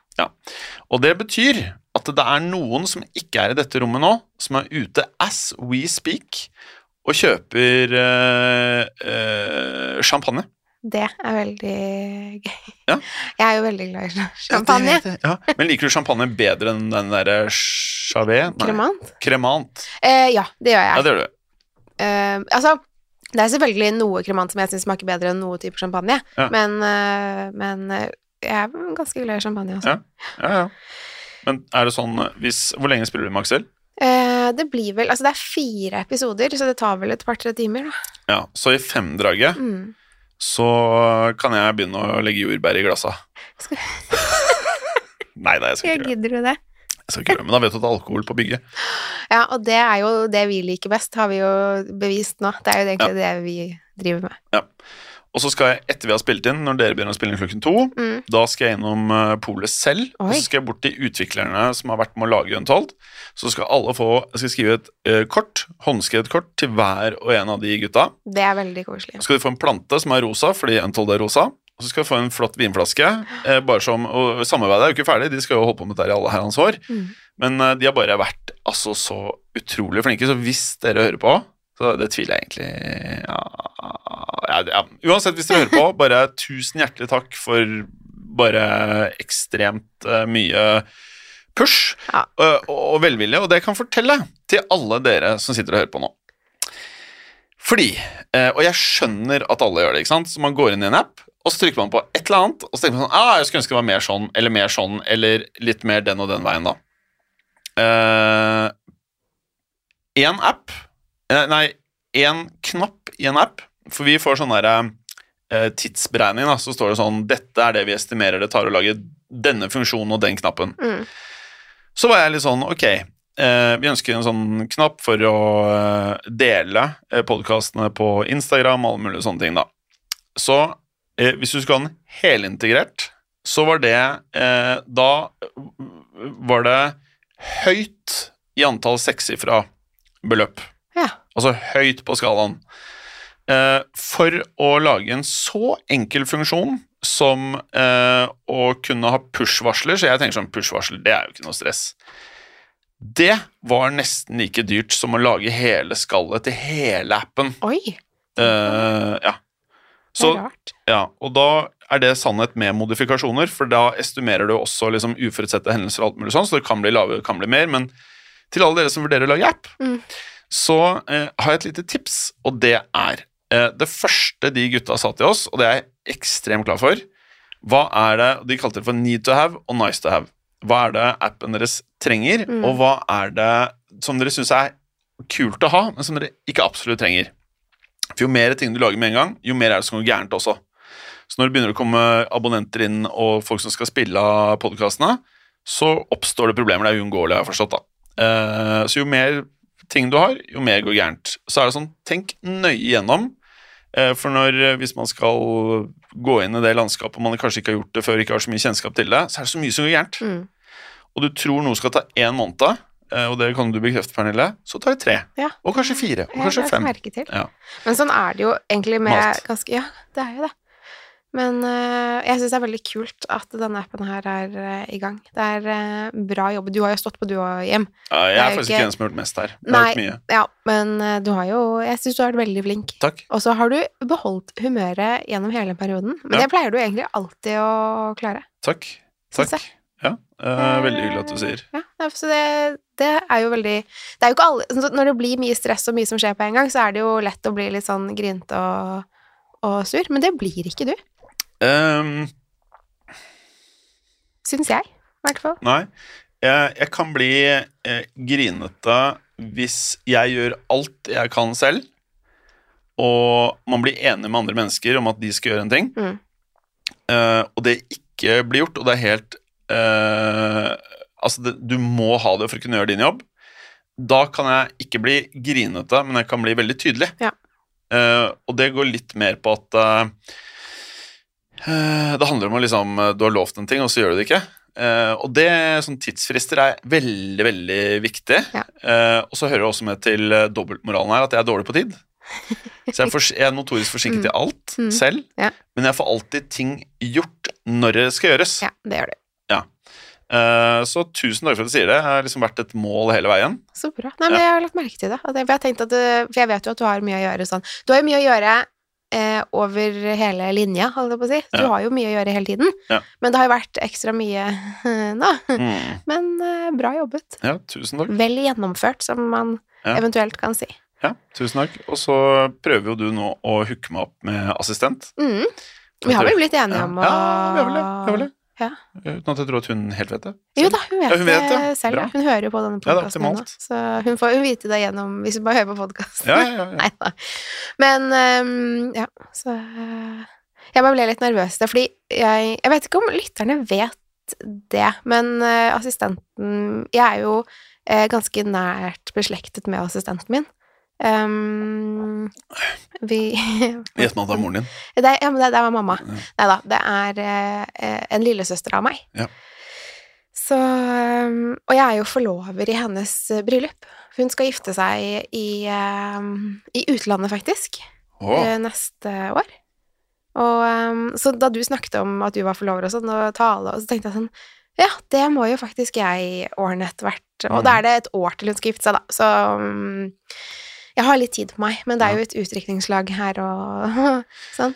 S1: Og det betyr at det er noen som ikke er i dette rommet nå, som er ute as we speak, og kjøper eh, eh, champagne.
S2: Det er veldig gøy.
S1: Ja.
S2: Jeg er jo veldig glad i champagne.
S1: Ja. Men liker du champagne bedre enn den derre Chavet? Nei,
S2: Kremant.
S1: Kremant.
S2: Eh, ja, det gjør jeg.
S1: Ja, det gjør du.
S2: Eh, altså, det er selvfølgelig noe kremant som jeg syns smaker bedre enn noe type champagne,
S1: Ja.
S2: men, eh, men eh, jeg er ganske glad i champagne altså. også.
S1: Ja. Ja, ja. Men er det sånn hvis, Hvor lenge spiller du med Aksel?
S2: Eh, det blir vel Altså, det er fire episoder, så det tar vel et par-tre timer, da.
S1: Ja, så i femdraget
S2: Mm.
S1: så kan jeg begynne å legge jordbær i glassa.
S2: Skal-
S1: Nei, nei, jeg skal
S2: Jeg
S1: ikke gjøre det.
S2: gidder du det?
S1: Jeg skal ikke gjøre det. Men da vet du at det er alkohol på bygget.
S2: Ja, og det er jo det vi liker best, har vi jo bevist nå. Det er jo egentlig det vi driver med.
S1: Og så skal jeg, etter vi har spilt inn, når dere begynner å spille inn klokken to,
S2: Mm.
S1: da skal jeg innom eh, polet selv, og
S2: Oi.
S1: så skal jeg bort til utviklerne som har vært med å lage Untold. Så skal alle få Jeg skal skrive et eh, kort, håndskrevet kort, til hver og en av de gutta.
S2: Det er veldig koselig.
S1: Så skal du få en plante som er rosa, fordi Untold er rosa. Og så skal du få en flott vinflaske. Eh, bare som, og Samarbeidet er jo ikke ferdig, de skal jo holde på med dette her i alle herrens år.
S2: Mm.
S1: Men eh, de har bare vært altså, så utrolig flinke, så hvis dere hører på så det tviler jeg egentlig ja, ja, ja. Uansett, hvis dere hører på, bare tusen hjertelig takk for bare ekstremt eh, mye push
S2: Ja.
S1: eh, og, og velvilje. Og det jeg kan fortelle til alle dere som sitter og hører på nå. Fordi, eh, og jeg skjønner at alle gjør det, ikke sant? Så man går inn i en app, og så trykker man på et eller annet, og så tenker man sånn, ah, jeg skulle ønske det var mer sånn, eller mer sånn, eller litt mer den og den veien da. Eh, en app, eh, nei, en knapp i en app, for vi får sånn der eh, tidsberegning da, så står det sånn, dette er det vi estimerer det tar å lage denne funksjonen og den knappen.
S2: Mm.
S1: Så var jeg litt sånn, ok, eh, vi ønsker en sånn knapp for å eh, dele eh, podkastene på Instagram og alle mulige sånne ting, da. Så eh, hvis du skulle ha den helintegrert, så var det eh, Da var det høyt i antall sekssifra beløp.
S2: Ja.
S1: Altså høyt på skalaen. Eh, for å lage en så enkel funksjon som eh, å kunne ha push-varsler, så jeg tenker sånn push-varsel, det er jo ikke noe stress. Det var nesten like dyrt som å lage hele skallet til hele appen.
S2: Oi,
S1: Eh, ja.
S2: det
S1: Så,
S2: er rart.
S1: ja, og da er det sannhet med modifikasjoner, for da estimerer du også liksom uforutsette hendelser og alt mulig sånn, så det kan bli lavere, det kan bli mer, men til alle dere som vurderer å lage app,
S2: Mm.
S1: så eh, har jeg et lite tips, og det er eh, det første de gutta sa til oss, og det er jeg ekstremt glad for, hva er det, de kalte det for need to have og nice to have, hva er det appen deres trenger,
S2: Mm.
S1: og hva er det som dere syns er kult å ha, men som dere ikke absolutt trenger. For jo mer ting du lager med en gang, jo mer er det som går gærent også. Så når det begynner å komme abonnenter inn og folk som skal spille av podkastene, så oppstår det problemer. Det er uunngåelig, har jeg forstått. da. Eh, så jo mer ting du har, jo mer går gærent. Så er det sånn, tenk nøye igjennom. Eh, For når, eh, hvis man skal gå inn i det landskapet man kanskje ikke har gjort det før, ikke har så mye kjennskap til det, så er det så mye som går gærent.
S2: Mm.
S1: Og du tror noe skal ta én måned, eh, og det kan du bekrefte, Pernille, så tar det tre.
S2: Ja.
S1: Og kanskje fire. Og
S2: Jeg
S1: kanskje
S2: har
S1: fem.
S2: merke til.
S1: Ja.
S2: Men sånn er det jo egentlig med
S1: Mat.
S2: ganske Ja, det er jo det. Men øh, jeg syns det er veldig kult at denne appen her er øh, i gang. Det er øh, bra jobb. Du har jo stått på, du òg, Hjem.
S1: Ja, Jeg er
S2: Det er jo
S1: faktisk
S2: ikke-
S1: ikke den som har gjort mest her. Det
S2: Nei.
S1: har gjort mye.
S2: Ja, men øh, du har jo Jeg syns du har vært veldig flink.
S1: Takk.
S2: Og så har du beholdt humøret gjennom hele perioden. Men
S1: Ja.
S2: det pleier du egentlig alltid å klare.
S1: Takk.
S2: Syns
S1: Takk. Ja, eh, veldig hyggelig at du sier.
S2: Ja, nei, så det, det er jo veldig Det er jo ikke alle sånn at Når det blir mye stress og mye som skjer på en gang, så er det jo lett å bli litt sånn grinete og, og sur. Men det blir ikke du,
S1: Ehm,
S2: syns jeg. I hvert fall.
S1: nei, jeg, jeg kan bli eh, grinete hvis jeg gjør alt jeg kan selv, og man blir enig med andre mennesker om at de skal gjøre en ting,
S2: Mm.
S1: eh, og det ikke blir gjort, og det er helt eh, Altså, det, du må ha det for å kunne gjøre din jobb. Da kan jeg ikke bli grinete, men jeg kan bli veldig tydelig.
S2: Ja.
S1: Eh, og det går litt mer på at eh, eh, det handler om å liksom eh, Du har lovt en ting, og så gjør du det ikke. Eh, og det, sånn tidsfrister er veldig, veldig viktig.
S2: Ja.
S1: Eh, og så hører det også med til eh, dobbeltmoralen her at jeg er dårlig på tid. Så jeg, er fors- jeg er notorisk forsinket i alt
S2: Mm.
S1: selv,
S2: Ja.
S1: men jeg får alltid ting gjort når det skal gjøres.
S2: Ja, det gjør du.
S1: Eh, så tusen takk for at du sier det. Det har liksom vært et mål hele veien.
S2: Så bra. Nei, men jeg har lagt merke til det. At jeg, for, jeg har tenkt at du, for jeg vet jo at du har mye å gjøre sånn. Du har jo mye å gjøre eh, over hele linja, holdt jeg på å si. Du
S1: Ja.
S2: har jo mye å gjøre hele tiden.
S1: Ja.
S2: Men det har jo vært ekstra mye nå.
S1: Mm.
S2: Men eh, bra jobbet.
S1: Ja, tusen takk.
S2: Vel gjennomført, som man
S1: Ja.
S2: eventuelt kan si.
S1: Ja, tusen takk. Og så prøver jo du nå å hooke meg opp med assistent.
S2: Mm. Vi har vel blitt enige
S1: Ja,
S2: om å
S1: ja vi har vel det. Vi har vel det.
S2: Ja.
S1: Uten at jeg tror at hun helt vet det.
S2: Jo da, hun vet,
S1: Ja, hun vet
S2: det
S1: det.
S2: selv.
S1: Bra.
S2: ja. Hun hører jo på denne
S1: Ja, det er
S2: podkasten nå.
S1: optimalt.
S2: Så hun får jo vite det gjennom Hvis hun bare hører på podkasten.
S1: Ja, ja, ja.
S2: Nei da. Men ehm, ja, så eh, Jeg bare ble litt nervøs da, fordi jeg Jeg vet ikke om lytterne vet det, men eh, assistenten Jeg er jo eh, ganske nært beslektet med assistenten min. Ehm, vi
S1: Gjett meg at det er moren din.
S2: Det, er- ja, men det, det var mamma.
S1: Ja.
S2: Nei da, det er eh, eh, en lillesøster av meg.
S1: Ja.
S2: Så um, Og jeg er jo forlover i hennes eh, bryllup. Hun skal gifte seg i, um, i utlandet, faktisk,
S1: Åh,
S2: eh, neste år. Og um, så da du snakket om at du var forlover og sånn, og tale, og så tenkte jeg sånn Ja, det må jo faktisk jeg ordne etter hvert. Og
S1: Mm.
S2: da er det et år til hun skal gifte seg, da. Så um, jeg har litt tid på meg, men det er jo et utdrikningslag her og sånn.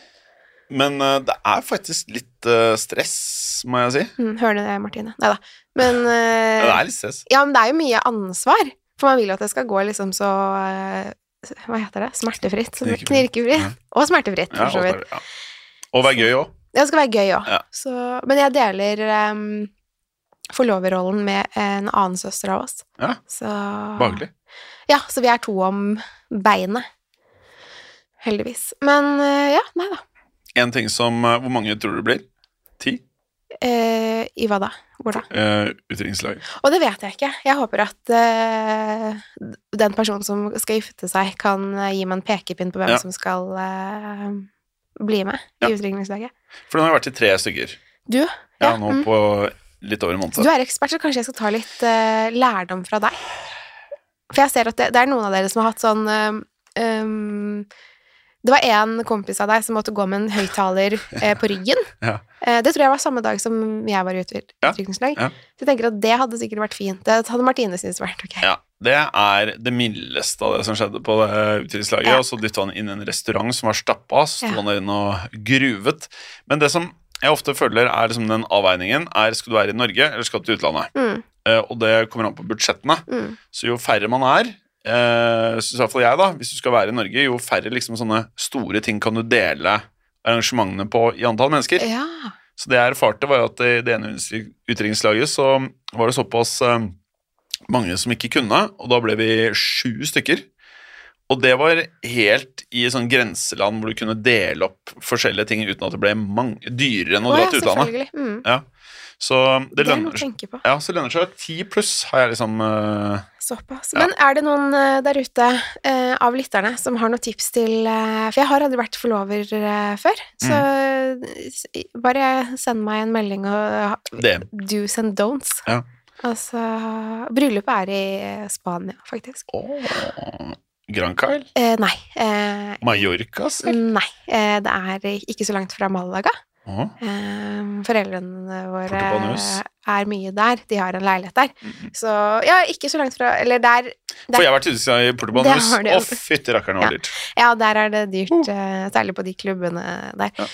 S1: Men eh, det er faktisk litt eh, stress, må jeg si.
S2: Mm, Hører du det, Martine? Nei da. Men, eh,
S1: Ja, det er litt stress.
S2: ja, men det er jo mye ansvar. For man vil jo at det skal gå liksom så eh, Hva heter det? Smertefritt. Så det-
S1: Knirkefritt.
S2: Knirkefritt.
S1: Ja.
S2: Og smertefritt,
S1: Ja,
S2: Eh, for så
S1: alt
S2: vidt.
S1: er- ja. Og være gøy òg.
S2: Det skal være gøy òg.
S1: Ja.
S2: Men jeg deler em, forloverrollen med en annen søster av oss.
S1: Ja.
S2: Så
S1: Behagelig.
S2: Ja, så vi er to om beinet. Heldigvis. Men eh, ja, nei da.
S1: En ting som eh, Hvor mange tror du det blir? Ti?
S2: Eh, I hva da? Hvor da?
S1: Uh, Utdrikningslag.
S2: Og det vet jeg ikke. Jeg håper at eh, den personen som skal gifte seg, kan eh, gi meg en pekepinn på hvem
S1: Ja.
S2: som skal eh, bli med
S1: Ja.
S2: i utdrikningslaget.
S1: For den har vært i tre stykker.
S2: Du?
S1: Ja,
S2: Ja,
S1: nå
S2: mm.
S1: på litt over en måned.
S2: Du er ekspert, så kanskje jeg skal ta litt eh, lærdom fra deg. For jeg ser at det, det er noen av dere som har hatt sånn eh, um, Det var en kompis av deg som måtte gå med en høyttaler eh, på ryggen.
S1: Ja.
S2: Eh, det tror jeg var samme dag som jeg var i ut-
S1: Ja,
S2: utdrikningslag.
S1: ja.
S2: Så jeg tenker at det hadde sikkert vært fint. Det hadde Martine syntes vært ok.
S1: Ja, det er det mildeste av det som skjedde på det utdrikningslaget.
S2: Ja.
S1: Og så dytta han inn i en restaurant som var stappa, så sto
S2: Ja.
S1: han der inne og gruvet. Men det som jeg ofte føler er liksom den avveiningen, er skal du være i Norge, eller skal du til utlandet?
S2: Mm,
S1: Eh, Og det kommer an på budsjettene.
S2: mm.
S1: Så jo færre man er, eh, synes i hvert fall jeg da, hvis du skal være i Norge, jo færre liksom sånne store ting kan du dele arrangementene på i antall mennesker.
S2: Ja.
S1: Så det jeg erfarte, var jo at i det ene utdrikningslaget så var det såpass eh, mange som ikke kunne, og da ble vi sju stykker. Og det var helt i sånn grenseland hvor du kunne dele opp forskjellige ting uten at det ble mange, dyrere enn å
S2: Å
S1: dra
S2: ja,
S1: til utlandet.
S2: selvfølgelig. Mm.
S1: Ja. Så det,
S2: Det er noe
S1: lønner
S2: å
S1: seg.
S2: tenke på.
S1: Ja, så lønner det seg. Ti pluss har jeg liksom eh,
S2: Såpass.
S1: Ja.
S2: Men er det noen eh, der ute eh, av lytterne som har noen tips til eh, For jeg har aldri vært forlover eh, før, så
S1: Mm.
S2: s- bare send meg en melding og ha-
S1: det.
S2: do's and don'ts.
S1: Ja.
S2: Altså Bryllupet er i eh, Spania, faktisk.
S1: Åh, Grancail?
S2: Eh, nei. Eh,
S1: Mallorca, selv?
S2: nei. Eh, det er ikke så langt fra Malaga.
S1: Åh,
S2: Eh, foreldrene våre
S1: Portobanos.
S2: er mye der. De har en leilighet der.
S1: mhm.
S2: Så ja, ikke så langt fra Eller der
S1: For jeg har vært ute i Portugal
S2: Det
S1: News.
S2: har du.
S1: Å, fytti rakkeren, det var
S2: Ja.
S1: dyrt.
S2: Ja, der er det dyrt,
S1: Uh.
S2: eh, særlig på de klubbene der.
S1: Ja.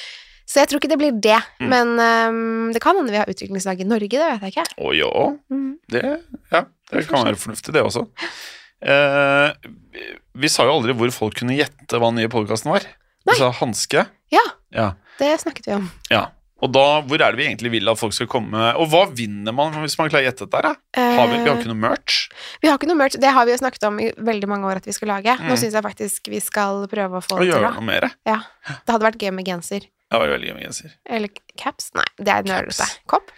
S2: Så jeg tror ikke det blir det,
S1: Mm.
S2: men ehm, det kan hende vi har utviklingslag i Norge, det vet jeg ikke.
S1: Å ja,
S2: Mm.
S1: det, ja, det
S2: Vi får
S1: kan
S2: se.
S1: være fornuftig, det også. Eh, vi sa jo aldri hvor folk kunne gjette hva den nye podkasten var.
S2: Nei.
S1: Vi sa hanske.
S2: Ja,
S1: Ja.
S2: det snakket vi om.
S1: ja. Og da, hvor er det vi egentlig vil at folk skal komme? Og hva vinner man hvis man klarer å gjette dette? her, Da? Har vi, vi har
S2: Eh,
S1: ikke noe merch.
S2: vi har ikke noe merch, det har vi jo snakket om i veldig mange år at vi skal lage. Nå
S1: Mm.
S2: syns jeg faktisk vi skal prøve å få
S1: Å
S2: det til.
S1: gjøre
S2: da.
S1: noe mer.
S2: Ja. Det hadde vært gøy med genser.
S1: Det var veldig gøy med genser.
S2: Eller caps? Nei, det er nølete.
S1: Caps.
S2: Kopp?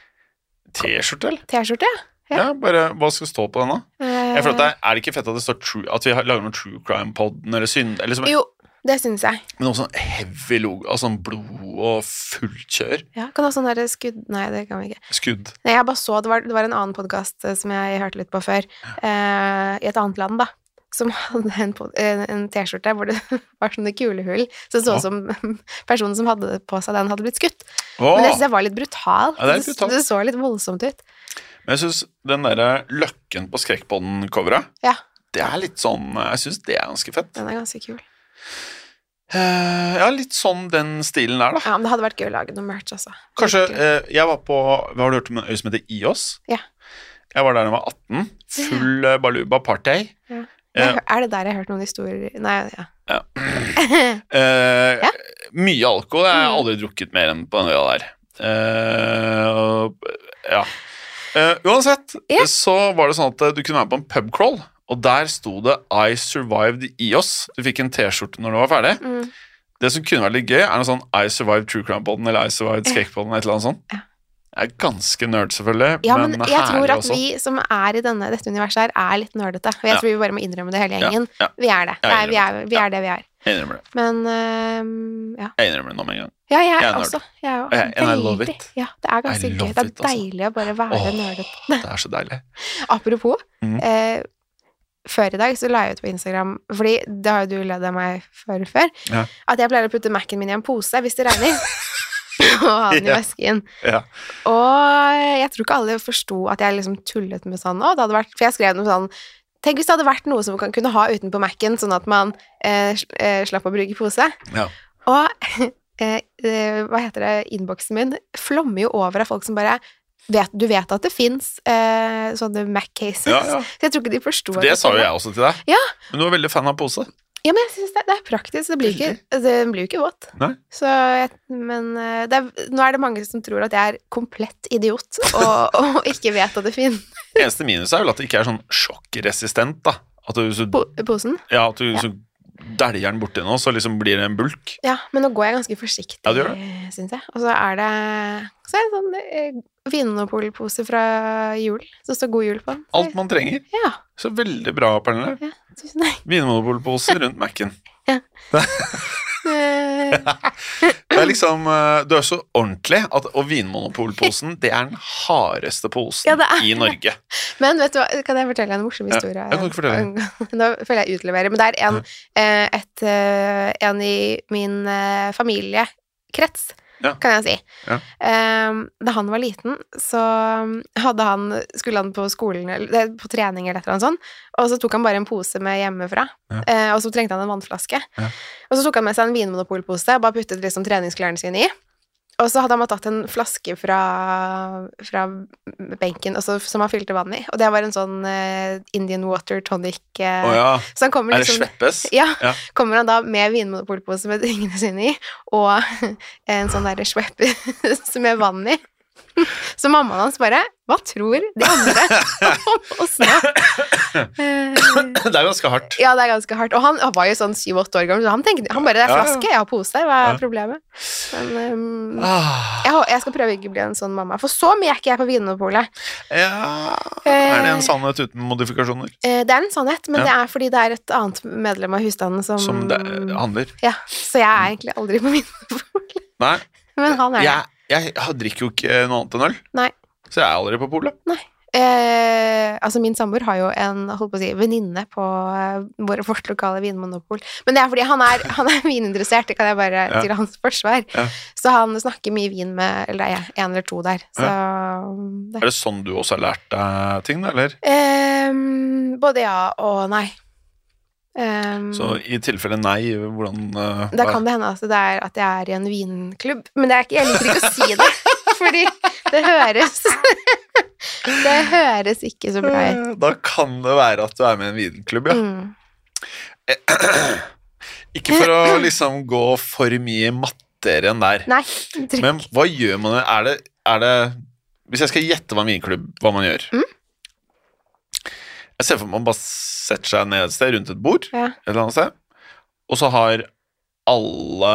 S1: T-skjorte, eller?
S2: T-skjorte? Ja.
S1: Ja. bare Hva skal stå på den, da?
S2: Eh,
S1: Jeg føler at det er, er det ikke fett at det står true, at vi har- lager noen True Crime-podden eller synd... Eller som,
S2: Eh, Jo, det syns jeg.
S1: men også sånn heavy logo, altså sånn blod og fullt kjør.
S2: Ja, kan ha sånn derre skudd Nei, det kan vi ikke.
S1: Skudd.
S2: Nei, jeg bare så, det var, det var en annen podkast som jeg hørte litt på før, eh, i et annet land, da, som hadde en, pod- en, en T-skjorte hvor det var sånne kulehull, så det så
S1: Ja.
S2: ut som personen som hadde det på seg den, hadde blitt skutt.
S1: Åh!
S2: Men jeg syns jeg var litt brutal.
S1: Ja, det er brutalt.
S2: det så litt voldsomt ut.
S1: Men jeg syns den derre Løkken på Skrekkpodden-coveret,
S2: Ja.
S1: det er litt sånn Jeg syns det er ganske fett.
S2: Den er ganske kul.
S1: Eh, ja, litt sånn den stilen der, da.
S2: Ja, men det hadde vært gøy å lage noe merch, altså.
S1: Kanskje
S2: Virkelig.
S1: eh, Jeg var på Hva har du hørt om en øy som heter Ios?
S2: Ja.
S1: Jeg var der da jeg var 18. Full eh, baluba party.
S2: Ja.
S1: Eh,
S2: Jeg hø- Er det der jeg har hørt noen historier Nei, ja.
S1: Ja.
S2: ja.
S1: Eh,
S2: Ja.
S1: Mye alkohol. Jeg har
S2: Mm.
S1: aldri drukket mer enn på den øya der. Eh, og- ja. Eh, uansett,
S2: Ja.
S1: så var det sånn at eh, du kunne være med på en pubcrawl, og der sto det 'I survived IOS'. Du fikk en T-skjorte når du var ferdig.
S2: Mm.
S1: Det som kunne vært litt gøy, er noe sånn 'I survived True Crime-poden' eller 'I survived
S2: Ja.
S1: Skrekkpodden' eller et eller annet sånt.
S2: Ja.
S1: Jeg er ganske nerd, selvfølgelig,
S2: ja, men jeg
S1: herlig
S2: tror at
S1: også.
S2: vi som er i denne, dette universet her, er litt nerdete. Og jeg
S1: Ja.
S2: tror vi bare må innrømme det, hele
S1: Ja,
S2: gjengen.
S1: ja.
S2: Vi er det.
S1: Jeg
S2: det er, vi, er, vi
S1: Ja.
S2: er det vi er.
S1: Jeg innrømmer det.
S2: Men øhm, ja.
S1: Jeg innrømmer det nå med en gang.
S2: ja, jeg
S1: Jeg
S2: er
S1: er nerd.
S2: også. Jeg er jo
S1: Jeg- and I love
S2: veldig-
S1: it.
S2: Ja, det er ganske
S1: I
S2: gøy.
S1: love
S2: Det er
S1: it, altså.
S2: deilig å bare være
S1: Åh.
S2: nerdete.
S1: Det er så deilig.
S2: Apropos,
S1: Mhm.
S2: eh, før i dag så la jeg ut på Instagram, fordi det har jo du ledd av meg for før,
S1: Ja.
S2: at jeg pleier å putte Mac-en min i en pose hvis det regner. Og ha den i
S1: Ja.
S2: vesken.
S1: Ja.
S2: Og jeg tror ikke alle forsto at jeg liksom tullet med sånn Å, det hadde vært For jeg skrev noe sånn Tenk hvis det hadde vært noe som man kan kunne ha utenpå Mac-en, sånn at man eh, sl- eh, slapp å bruke pose.
S1: Ja.
S2: Og eh, eh, hva heter det, innboksen min flommer jo over av folk som bare vet, Du vet at det fins eh, sånne Mac-cases.
S1: Ja, ja.
S2: Så jeg tror ikke de forsto at
S1: Det sa jo
S2: kom.
S1: jeg også til deg.
S2: Ja.
S1: Men du var veldig fan av pose.
S2: Ja, men jeg synes det, det er praktisk. Det blir ikke, det blir jo ikke våt.
S1: Nei.
S2: Så jeg, men eh, det er, nå er det mange som tror at jeg er komplett idiot og, og ikke vet at det finnes
S1: Det eneste minuset er vel at det ikke er sånn sjokkresistent. da At du, så,
S2: po posen.
S1: ja, at du så dæljer den borti noe, så liksom blir det en bulk.
S2: Ja, men nå går jeg ganske forsiktig,
S1: Ja, du gjør
S2: syns jeg. Og så er det så er det en sånn eh, Vinmonopol-pose fra julen. Så står 'God jul' på den.
S1: Alt man trenger.
S2: Ja,
S1: Så veldig bra, Pernille.
S2: tusen takk.
S1: Vinmonopolposen rundt Mac-en.
S2: Eh,
S1: Det er liksom, eh, Du er så ordentlig, at, og Vinmonopolposen det er den hardeste posen
S2: Ja, det er
S1: i Norge.
S2: Men vet du hva, kan jeg fortelle en morsom
S1: Ja,
S2: historie?
S1: jeg kan ikke
S2: Nå føler jeg utleverer, men det er en, eh, et, eh, en i min eh, familiekrets,
S1: Ja.
S2: kan jeg si.
S1: Ja.
S2: Eh, da han var liten, så hadde han, skulle han på skolen, eller det- på trening eller et eller annet sånt, og så tok han bare en pose med hjemmefra,
S1: Ja.
S2: eh, og så trengte han en vannflaske.
S1: Ja.
S2: Og så tok han med seg en vinmonopolpose, og bare puttet liksom treningsklærne sine i. Og så hadde han bare tatt en flaske fra, fra benken og så- som han fylte vann i. Og det var en sånn eh, Indian water tonic. eh,
S1: Å ja.
S2: Så han kommer
S1: Er det
S2: liksom
S1: sveppes?
S2: ja,
S1: Ja.
S2: kommer han da med vinmonopolpose med tingene sine i, og en sånn derre Schweppes med vann i. Så mammaen hans bare Hva tror de andre om oss nå? Eh,
S1: Det er jo ganske hardt.
S2: Ja, det er ganske hardt. Og han var jo sånn syv-åtte år gammel, så han tenkte han bare Det er
S1: Ja, ja.
S2: flaske, jeg har pose, hva
S1: Ja.
S2: er problemet? Men ehm,
S1: Ah,
S2: jeg, hå- jeg skal prøve å ikke bli en sånn mamma, for så mye er ikke jeg på Vinmonopolet.
S1: ja Er det en sannhet uten modifikasjoner?
S2: Eh, det er en sannhet,
S1: Ja.
S2: men det er fordi det er et annet medlem av husstanden som,
S1: Som det eh,
S2: Mm.
S1: handler?
S2: Ja, så jeg er egentlig aldri på Vinmonopolet.
S1: Nei.
S2: Men han er det.
S1: Jeg, jeg drikker jo ikke noe annet enn øl.
S2: Nei.
S1: Så jeg er aldri på polet.
S2: Eh, altså Min samboer har jo en holdt på å si, venninne på eh, vår- vårt lokale vinmonopol. Men det er fordi han er, han er vininteressert, det kan jeg bare
S1: Ja.
S2: til hans forsvar.
S1: Ja.
S2: Så han snakker mye vin med eller det er en eller to der. Så det.
S1: Er det sånn du også har lært deg ting, da, eller?
S2: Ehm, både ja og nei. Ehm,
S1: Så i tilfelle nei, hvordan eh,
S2: da
S1: hva-
S2: kan det hende at det er at jeg er i en vinklubb, men det er ikke, jeg liker ikke å si det, fordi det høres Det høres ikke så bra ut.
S1: Eh, Da kan det være at du er med i en vinklubb, ja.
S2: Mm.
S1: Ikke for å liksom gå for mye i matter enn der.
S2: Nei. jeg tror
S1: Men hva gjør man? Er det, er det Hvis jeg skal gjette hva en vinklubb hva man gjør
S2: Mm.
S1: Jeg ser for meg man bare setter seg ned et sted rundt et bord,
S2: Ja.
S1: et eller annet sted, og så har alle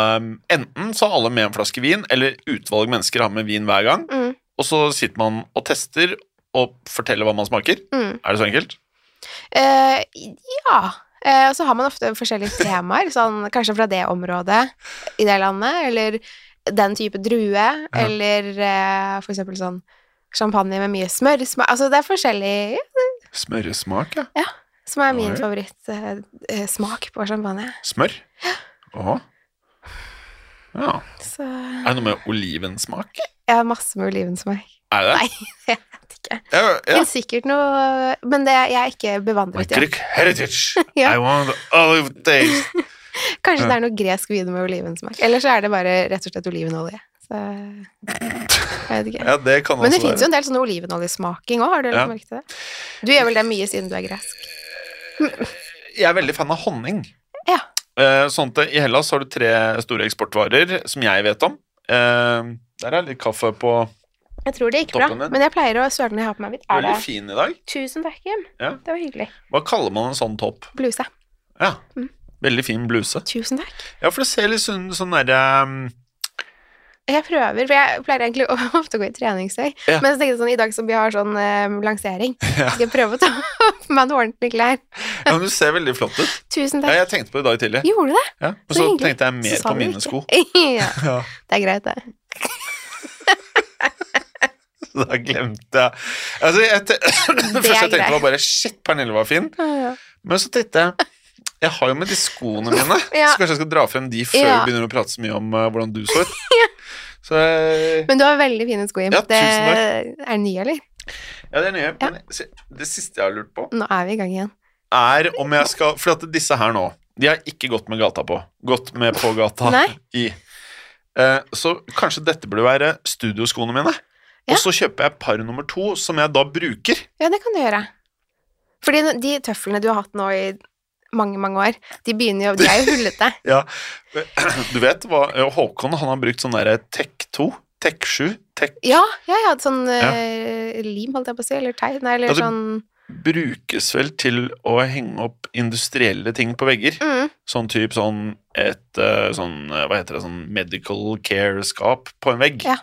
S1: Enten så har alle med en flaske vin, eller utvalg mennesker har med vin hver gang,
S2: Mm.
S1: og så sitter man og tester og forteller hva man smaker.
S2: Mm.
S1: Er det så enkelt?
S2: Eh, ja. Eh, Og så har man ofte forskjellige temaer, sånn kanskje fra det området i det landet, eller den type drue, eller eh, for eksempel sånn champagne med mye smør. sma- Altså det er forskjellig
S1: Smøresmak, ja.
S2: som er min
S1: Oi.
S2: favorittsmak på champagne.
S1: Smør. Åh. Ja.
S2: Så
S1: Er det noe med olivensmak?
S2: jeg har masse med olivensmak.
S1: Er det det?
S2: Nei, jeg vet ikke.
S1: Ja,
S2: Det
S1: ja.
S2: finnes sikkert noe Men det, jeg er ikke
S1: My
S2: bevandret i det.
S1: Greek heritage.
S2: Ja.
S1: I want olive taste.
S2: Kanskje
S1: Ja.
S2: det er noe gresk vin med olivensmak. Eller så er det bare rett og slett olivenolje. Så jeg vet ikke.
S1: Ja, det kan
S2: Men det
S1: også
S2: fins jo
S1: være.
S2: en del sånn olivenoljesmaking òg, har du
S1: Ja.
S2: lagt merke til det? Du gjør vel det mye siden du er gresk?
S1: Jeg er veldig fan av honning.
S2: Ja.
S1: Eh, Sånn at I Hellas har du tre store eksportvarer som jeg vet om. Eh, Der er litt kaffe på
S2: Jeg tror det gikk
S1: Toppen
S2: bra,
S1: din.
S2: men jeg pleier å søle når jeg har på meg hvitt. Er det
S1: Veldig fin i dag.
S2: Tusen takk, Jim.
S1: Ja.
S2: Det var hyggelig.
S1: Hva kaller man en sånn topp?
S2: Bluse.
S1: Ja.
S2: Mm.
S1: Veldig fin bluse.
S2: Tusen takk.
S1: Ja, for det ser litt sånn, sånn derre
S2: Jeg prøver, for jeg pleier egentlig å- ofte å gå i treningstøy.
S1: Ja.
S2: Men så tenkte jeg sånn, i dag som vi har sånn eh, lansering, skal jeg prøve å ta på meg noen ordentlige klær.
S1: Ja, men Du ser veldig flott ut.
S2: Tusen
S1: Ja,
S2: takk.
S1: jeg tenkte på det i dag tidlig.
S2: Gjorde du det?
S1: Ja. Og
S2: Så
S1: så
S2: hyggelig.
S1: tenkte jeg
S2: Så
S1: mer
S2: sa
S1: på
S2: du
S1: mine
S2: ikke.
S1: sko.
S2: ja,
S1: Ja.
S2: det er greit, det.
S1: Så Da glemte jeg altså, jeg te- Det første jeg tenkte, var bare Shit, Pernille var fin.
S2: Ja.
S1: Men så tenkte jeg Jeg har jo med de skoene mine,
S2: Ja.
S1: så kanskje jeg skal dra frem de før
S2: Ja.
S1: vi begynner å prate så mye om eh, hvordan du så ut. Så eh,
S2: Men du har veldig fine sko, Jim.
S1: Ja,
S2: det
S1: tusen
S2: er nye, eller?
S1: Ja, det er nye. Men se, det siste jeg har lurt på,
S2: Nå er vi i gang igjen.
S1: er om jeg skal For at disse her nå, de har ikke gått med gata på. Gått med på gata
S2: Nei.
S1: i. Eh, så kanskje dette burde være studioskoene mine.
S2: Ja.
S1: Og så kjøper jeg par nummer to, som jeg da bruker.
S2: Ja, det kan du gjøre. Fordi de tøflene du har hatt nå i mange, mange år, de begynner jo De er jo hullete.
S1: Ja, men du vet hva eh, Håkon han har brukt sånn derre Tek 2, Tek 7, Tek
S2: Ja, ja, jeg hadde sånn eh, lim, holdt jeg på å si, eller teip, nei, eller
S1: Ja, det-
S2: sånn
S1: Brukes vel til å henge opp industrielle ting på vegger.
S2: mm,
S1: Sånn type sånn et eh, sånn eh, Hva heter det? Sånn medical care-skap på en vegg.
S2: Ja.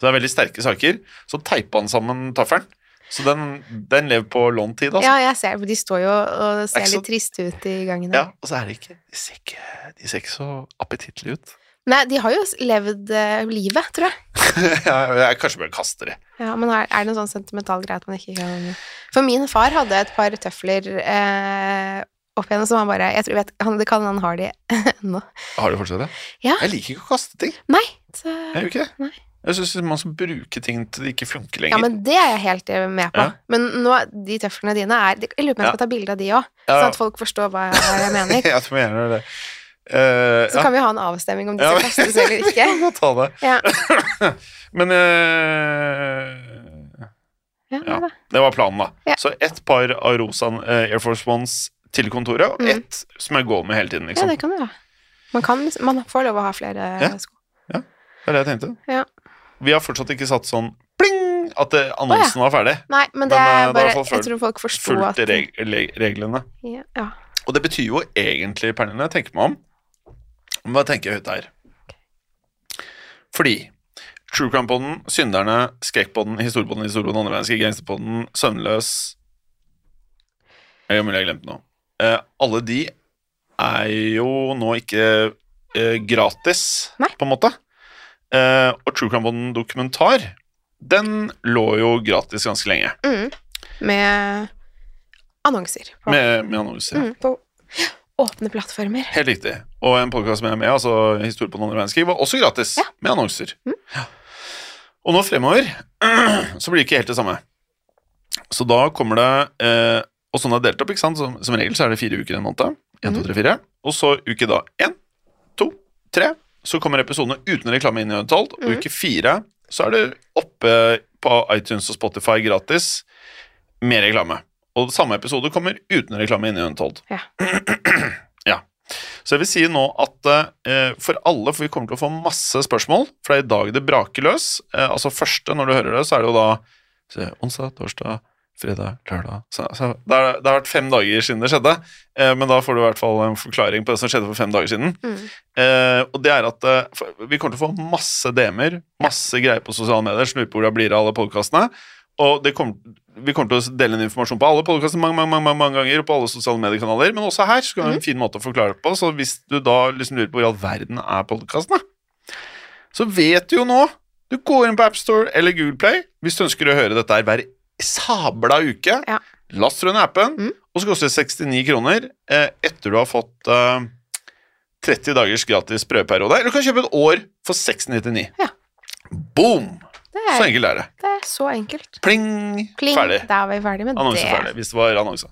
S1: Så det er veldig sterke saker. Så teipa han sammen taffelen. Så den, den lever på lånt tid, altså.
S2: Ja, jeg ser for de står jo og ser
S1: Ikke
S2: litt triste ut i gangen.
S1: Ja,
S2: her.
S1: og så er det ikke De ser ikke, de ser ikke så appetittlige ut.
S2: Nei, de har jo s- levd eh, livet, tror jeg.
S1: ja, jeg kanskje bør kaste de.
S2: Ja, men er, er det noen sånn sentimental greie at man ikke kan For min far hadde et par tøfler eh, opp igjen, som han bare Jeg tror, vet, han, Det kan han har de ennå.
S1: Har du fortsatt det?
S2: Ja.
S1: Jeg liker ikke å kaste ting.
S2: Nei, så
S1: Jeg gjør ikke det.
S2: Nei.
S1: Jeg syns man skal bruke ting til det ikke funker
S2: Ja,
S1: lenger.
S2: men det er jeg helt eh, med på.
S1: Ja.
S2: Men nå, de tøflene dine er Jeg lurer på om jeg skal ta bilde av de òg,
S1: Ja,
S2: sånn at folk forstår hva jeg mener.
S1: jeg tror jeg gjerne gjør det. Eh,
S2: Så kan vi ha en avstemning om de
S1: Ja,
S2: skal
S1: men-
S2: kastes eller ikke.
S1: Vi må ta det.
S2: Ja,
S1: Men eh,
S2: ja,
S1: Ja.
S2: da.
S1: det var planen, da.
S2: Ja.
S1: Så ett par av Rosan eh, Air Force Ones til kontoret, og
S2: Mm.
S1: ett som jeg går med hele tiden.
S2: ja,
S1: liksom.
S2: det kan du ha. Man, kan, man får lov å ha flere
S1: Ja.
S2: sko.
S1: det er det jeg tenkte.
S2: Ja.
S1: Vi har fortsatt ikke satt sånn pling at det, annonsen var ferdig.
S2: Nei,
S1: Men,
S2: men det
S1: eh,
S2: er
S1: da
S2: bare
S1: har folk
S2: Jeg
S1: fulgt-
S2: tror folk forsto at
S1: Fulgt reg le- reglene.
S2: Ja, ja.
S1: Og det betyr jo egentlig, Pernille, tenker meg om Om Hva tenker jeg ut her? Fordi True Crime-podden, Synderne, Skrekkpodden, Historiepodden, Historiepodden, Andre mennesker, Gangsterpodden, Søvnløs Jeg er mulig jeg har glemt noe. Eh, alle de er jo nå ikke eh, gratis,
S2: Nei.
S1: på en måte. Eh, og True Crime-podden dokumentar, den lå jo gratis ganske lenge.
S2: Mm. Med annonser på,
S1: Med, med annonser.
S2: mm, på åpne plattformer.
S1: Helt riktig. Og en podkast med meg, altså Historie på den andre verdenskrig, var også gratis,
S2: Ja.
S1: med annonser. Ja. Og nå fremover så blir det ikke helt det samme. Så da kommer det eh, Og sånn er det delt opp, ikke sant? Som, som regel så er det fire uker i en måned. En, to, tre, fire. Og så uke da én, to, tre. Så kommer episodene uten reklame inn i tolv. Og
S2: Mhm.
S1: uke fire så er det oppe på iTunes og Spotify gratis med reklame. Og samme episode kommer uten reklame inn i tolv.
S2: Ja.
S1: ja. Så jeg vil si nå at eh, for alle, for vi kommer til å få masse spørsmål, for det er i dag det braker løs. Eh, altså første, når du hører det, så er det jo da så, onsdag, torsdag, fredag, lørdag så, så, det, er, det har vært fem dager siden det skjedde, eh, men da får du i hvert fall en forklaring på det som skjedde for fem dager siden.
S2: Mm.
S1: Eh, og det er at eh, for- vi kommer til å få masse DM-er, masse greier på sosiale medier, som lurer på hvor det blir av alle podkastene. Og det kommer, vi kommer til å dele inn informasjon på alle podkastene mange, mange, mange, mange, mange ganger, og på alle sosiale mediekanaler, men også her. Så
S2: Mhm.
S1: kan vi ha en fin måte å forklare det på. Så hvis du da liksom lurer på hvor i all verden er podkastene, så vet du jo nå Du går inn på AppStore eller Google Play hvis du ønsker å høre dette her hver sabla uke.
S2: Ja.
S1: Last rundt appen,
S2: Mm.
S1: og så koster det 69 kroner eh, etter du har fått eh, 30 dagers gratis prøveperiode. Eller du kan kjøpe et år for 699.
S2: Ja.
S1: Boom!
S2: Det
S1: Så
S2: er,
S1: enkelt er det.
S2: det er så enkelt.
S1: Pling!
S2: Pling,
S1: Ferdig.
S2: da er vi ferdig med
S1: Annonse
S2: det.
S1: ferdig, hvis det var annonse.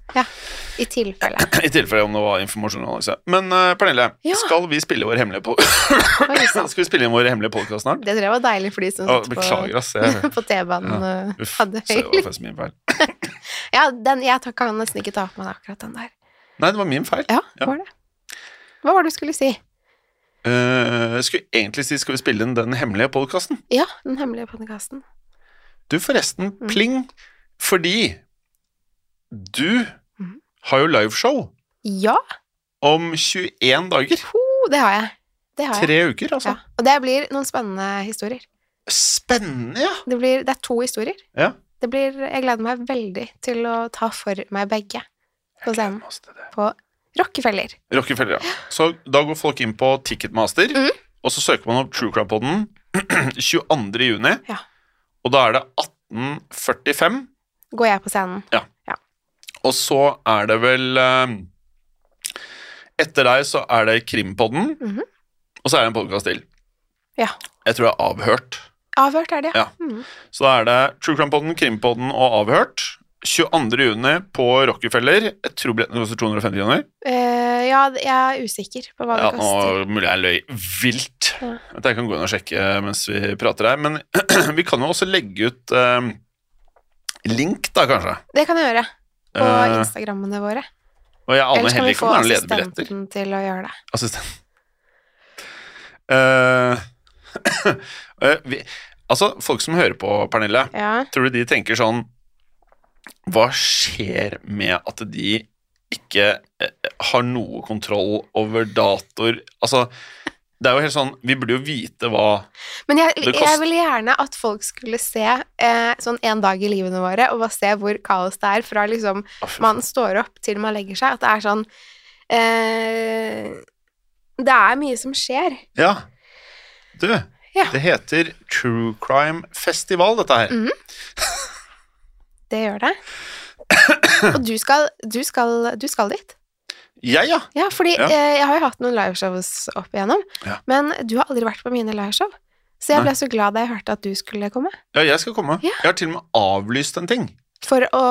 S2: I tilfelle.
S1: I tilfelle om det var informasjonsannonse. Men eh, Pernille,
S2: Ja.
S1: skal vi spille vår hemmelige po
S2: Oi, sant.
S1: Skal vi spille inn vår hemmelige podkast snart?
S2: Det tror jeg var deilig for de som
S1: Å,
S2: satt på,
S1: beklager, ass. Jeg,
S2: på T-banen og
S1: uff, så
S2: hadde
S1: det
S2: høy
S1: var faktisk min feil.
S2: Ja, den, jeg tar- kan nesten ikke ta på meg akkurat den der.
S1: Nei, det var min feil.
S2: Ja,
S1: Ja.
S2: hva var det? Hva var det du skulle si?
S1: Eh, jeg skulle egentlig si skal vi spille inn den hemmelige podkasten.
S2: Ja, den hemmelige podkasten.
S1: Du, forresten,
S2: Mm.
S1: pling! Fordi du
S2: Mhm.
S1: har jo liveshow
S2: Ja,
S1: om 21 dager.
S2: ho, det har jeg. Det har jeg.
S1: Tre uker, altså.
S2: Ja. Og det blir noen spennende historier.
S1: Spennende, ja!
S2: Det, blir, det er to historier.
S1: Ja.
S2: Det blir, jeg gleder meg veldig til å ta for meg begge på scenen.
S1: Masse til det.
S2: På Rockefeller.
S1: Rockefeller, ja. Så da går folk inn på Ticketmaster,
S2: Mhm.
S1: og så søker man opp True Crime Podden 22. juni,
S2: Ja.
S1: og da er det 1845,
S2: Går jeg på scenen.
S1: og så er det vel eh, Etter deg så er det Krimpodden,
S2: Mhm.
S1: og så er det en podkast til.
S2: Ja.
S1: Jeg tror det er Avhørt.
S2: Avhørt er det,
S1: Ja.
S2: Mm.
S1: Så da er det True Crime-podden, Krimpodden og Avhørt. 22. juni på Rockefeller. Jeg tror billettene koster 250 kroner.
S2: Eh, ja, jeg er usikker på hva
S1: Ja,
S2: det
S1: nå
S2: koster.
S1: er det mulig jeg løy vilt.
S2: Ja.
S1: At jeg kan gå inn og sjekke eh, mens vi prater her. Men vi kan jo også legge ut eh, link, da, kanskje.
S2: Det kan jeg gjøre. På
S1: Eh,
S2: Instagrammene våre.
S1: og jeg aner
S2: Ellers kan
S1: heller
S2: vi
S1: ikke
S2: få
S1: om det er noen lederbilletter.
S2: assistenten til å gjøre det.
S1: Assistent. Eh, eh, vi, altså, folk som hører på, Pernille,
S2: Ja.
S1: tror du de tenker sånn Hva skjer med at de ikke eh, har noe kontroll over datoer? Altså, det er jo helt sånn Vi burde jo vite hva
S2: Men jeg,
S1: Det kost-
S2: jeg ville gjerne at folk skulle se eh, sånn en dag i livene våre, og bare se hvor kaos det er fra liksom man står opp til man legger seg. At det er sånn eh, Det er mye som skjer.
S1: Ja. Du,
S2: Ja.
S1: det heter True Crime Festival, dette her.
S2: Mm. Det gjør det. Og du skal, du skal, du skal dit.
S1: Jeg, ja.
S2: Ja, fordi
S1: Ja.
S2: Eh, jeg har jo hatt noen liveshows opp igjennom,
S1: Ja.
S2: men du har aldri vært på mine liveshow. Så jeg
S1: Nei.
S2: ble så glad da jeg hørte at du skulle komme.
S1: Ja, jeg skal komme.
S2: Ja.
S1: Jeg har til og med avlyst en ting.
S2: For å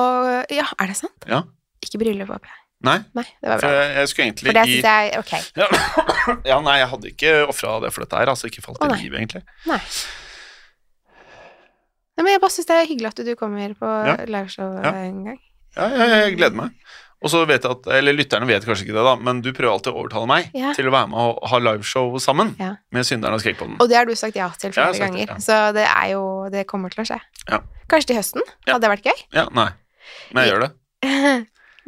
S2: Ja, er det sant?
S1: Ja.
S2: Ikke bryllup, håper jeg.
S1: Nei,
S2: Nei, det var
S1: for
S2: bra.
S1: jeg, jeg skulle egentlig
S2: For det
S1: i
S2: syns jeg Ok.
S1: ja, ja, nei, jeg hadde ikke ofra det for dette her. Altså, ikke falt
S2: Å,
S1: i
S2: nei.
S1: livet, egentlig.
S2: Nei. Nei, men jeg bare syns det er hyggelig at du kommer på
S1: Ja.
S2: liveshow
S1: Ja.
S2: en gang.
S1: Ja, jeg, jeg gleder meg. Og så vet jeg at, eller Lytterne vet kanskje ikke det, da, men du prøver alltid å overtale meg
S2: Ja.
S1: til å være med og ha liveshow sammen
S2: Ja.
S1: med Synderen og Skrekkpodden.
S2: Og det har du sagt ja til
S1: Jeg har sagt
S2: flere ganger,
S1: det, ja.
S2: så det er jo Det kommer til å skje.
S1: Ja.
S2: Kanskje til høsten?
S1: Ja.
S2: Hadde det vært gøy?
S1: Ja, nei. Men jeg gjør det.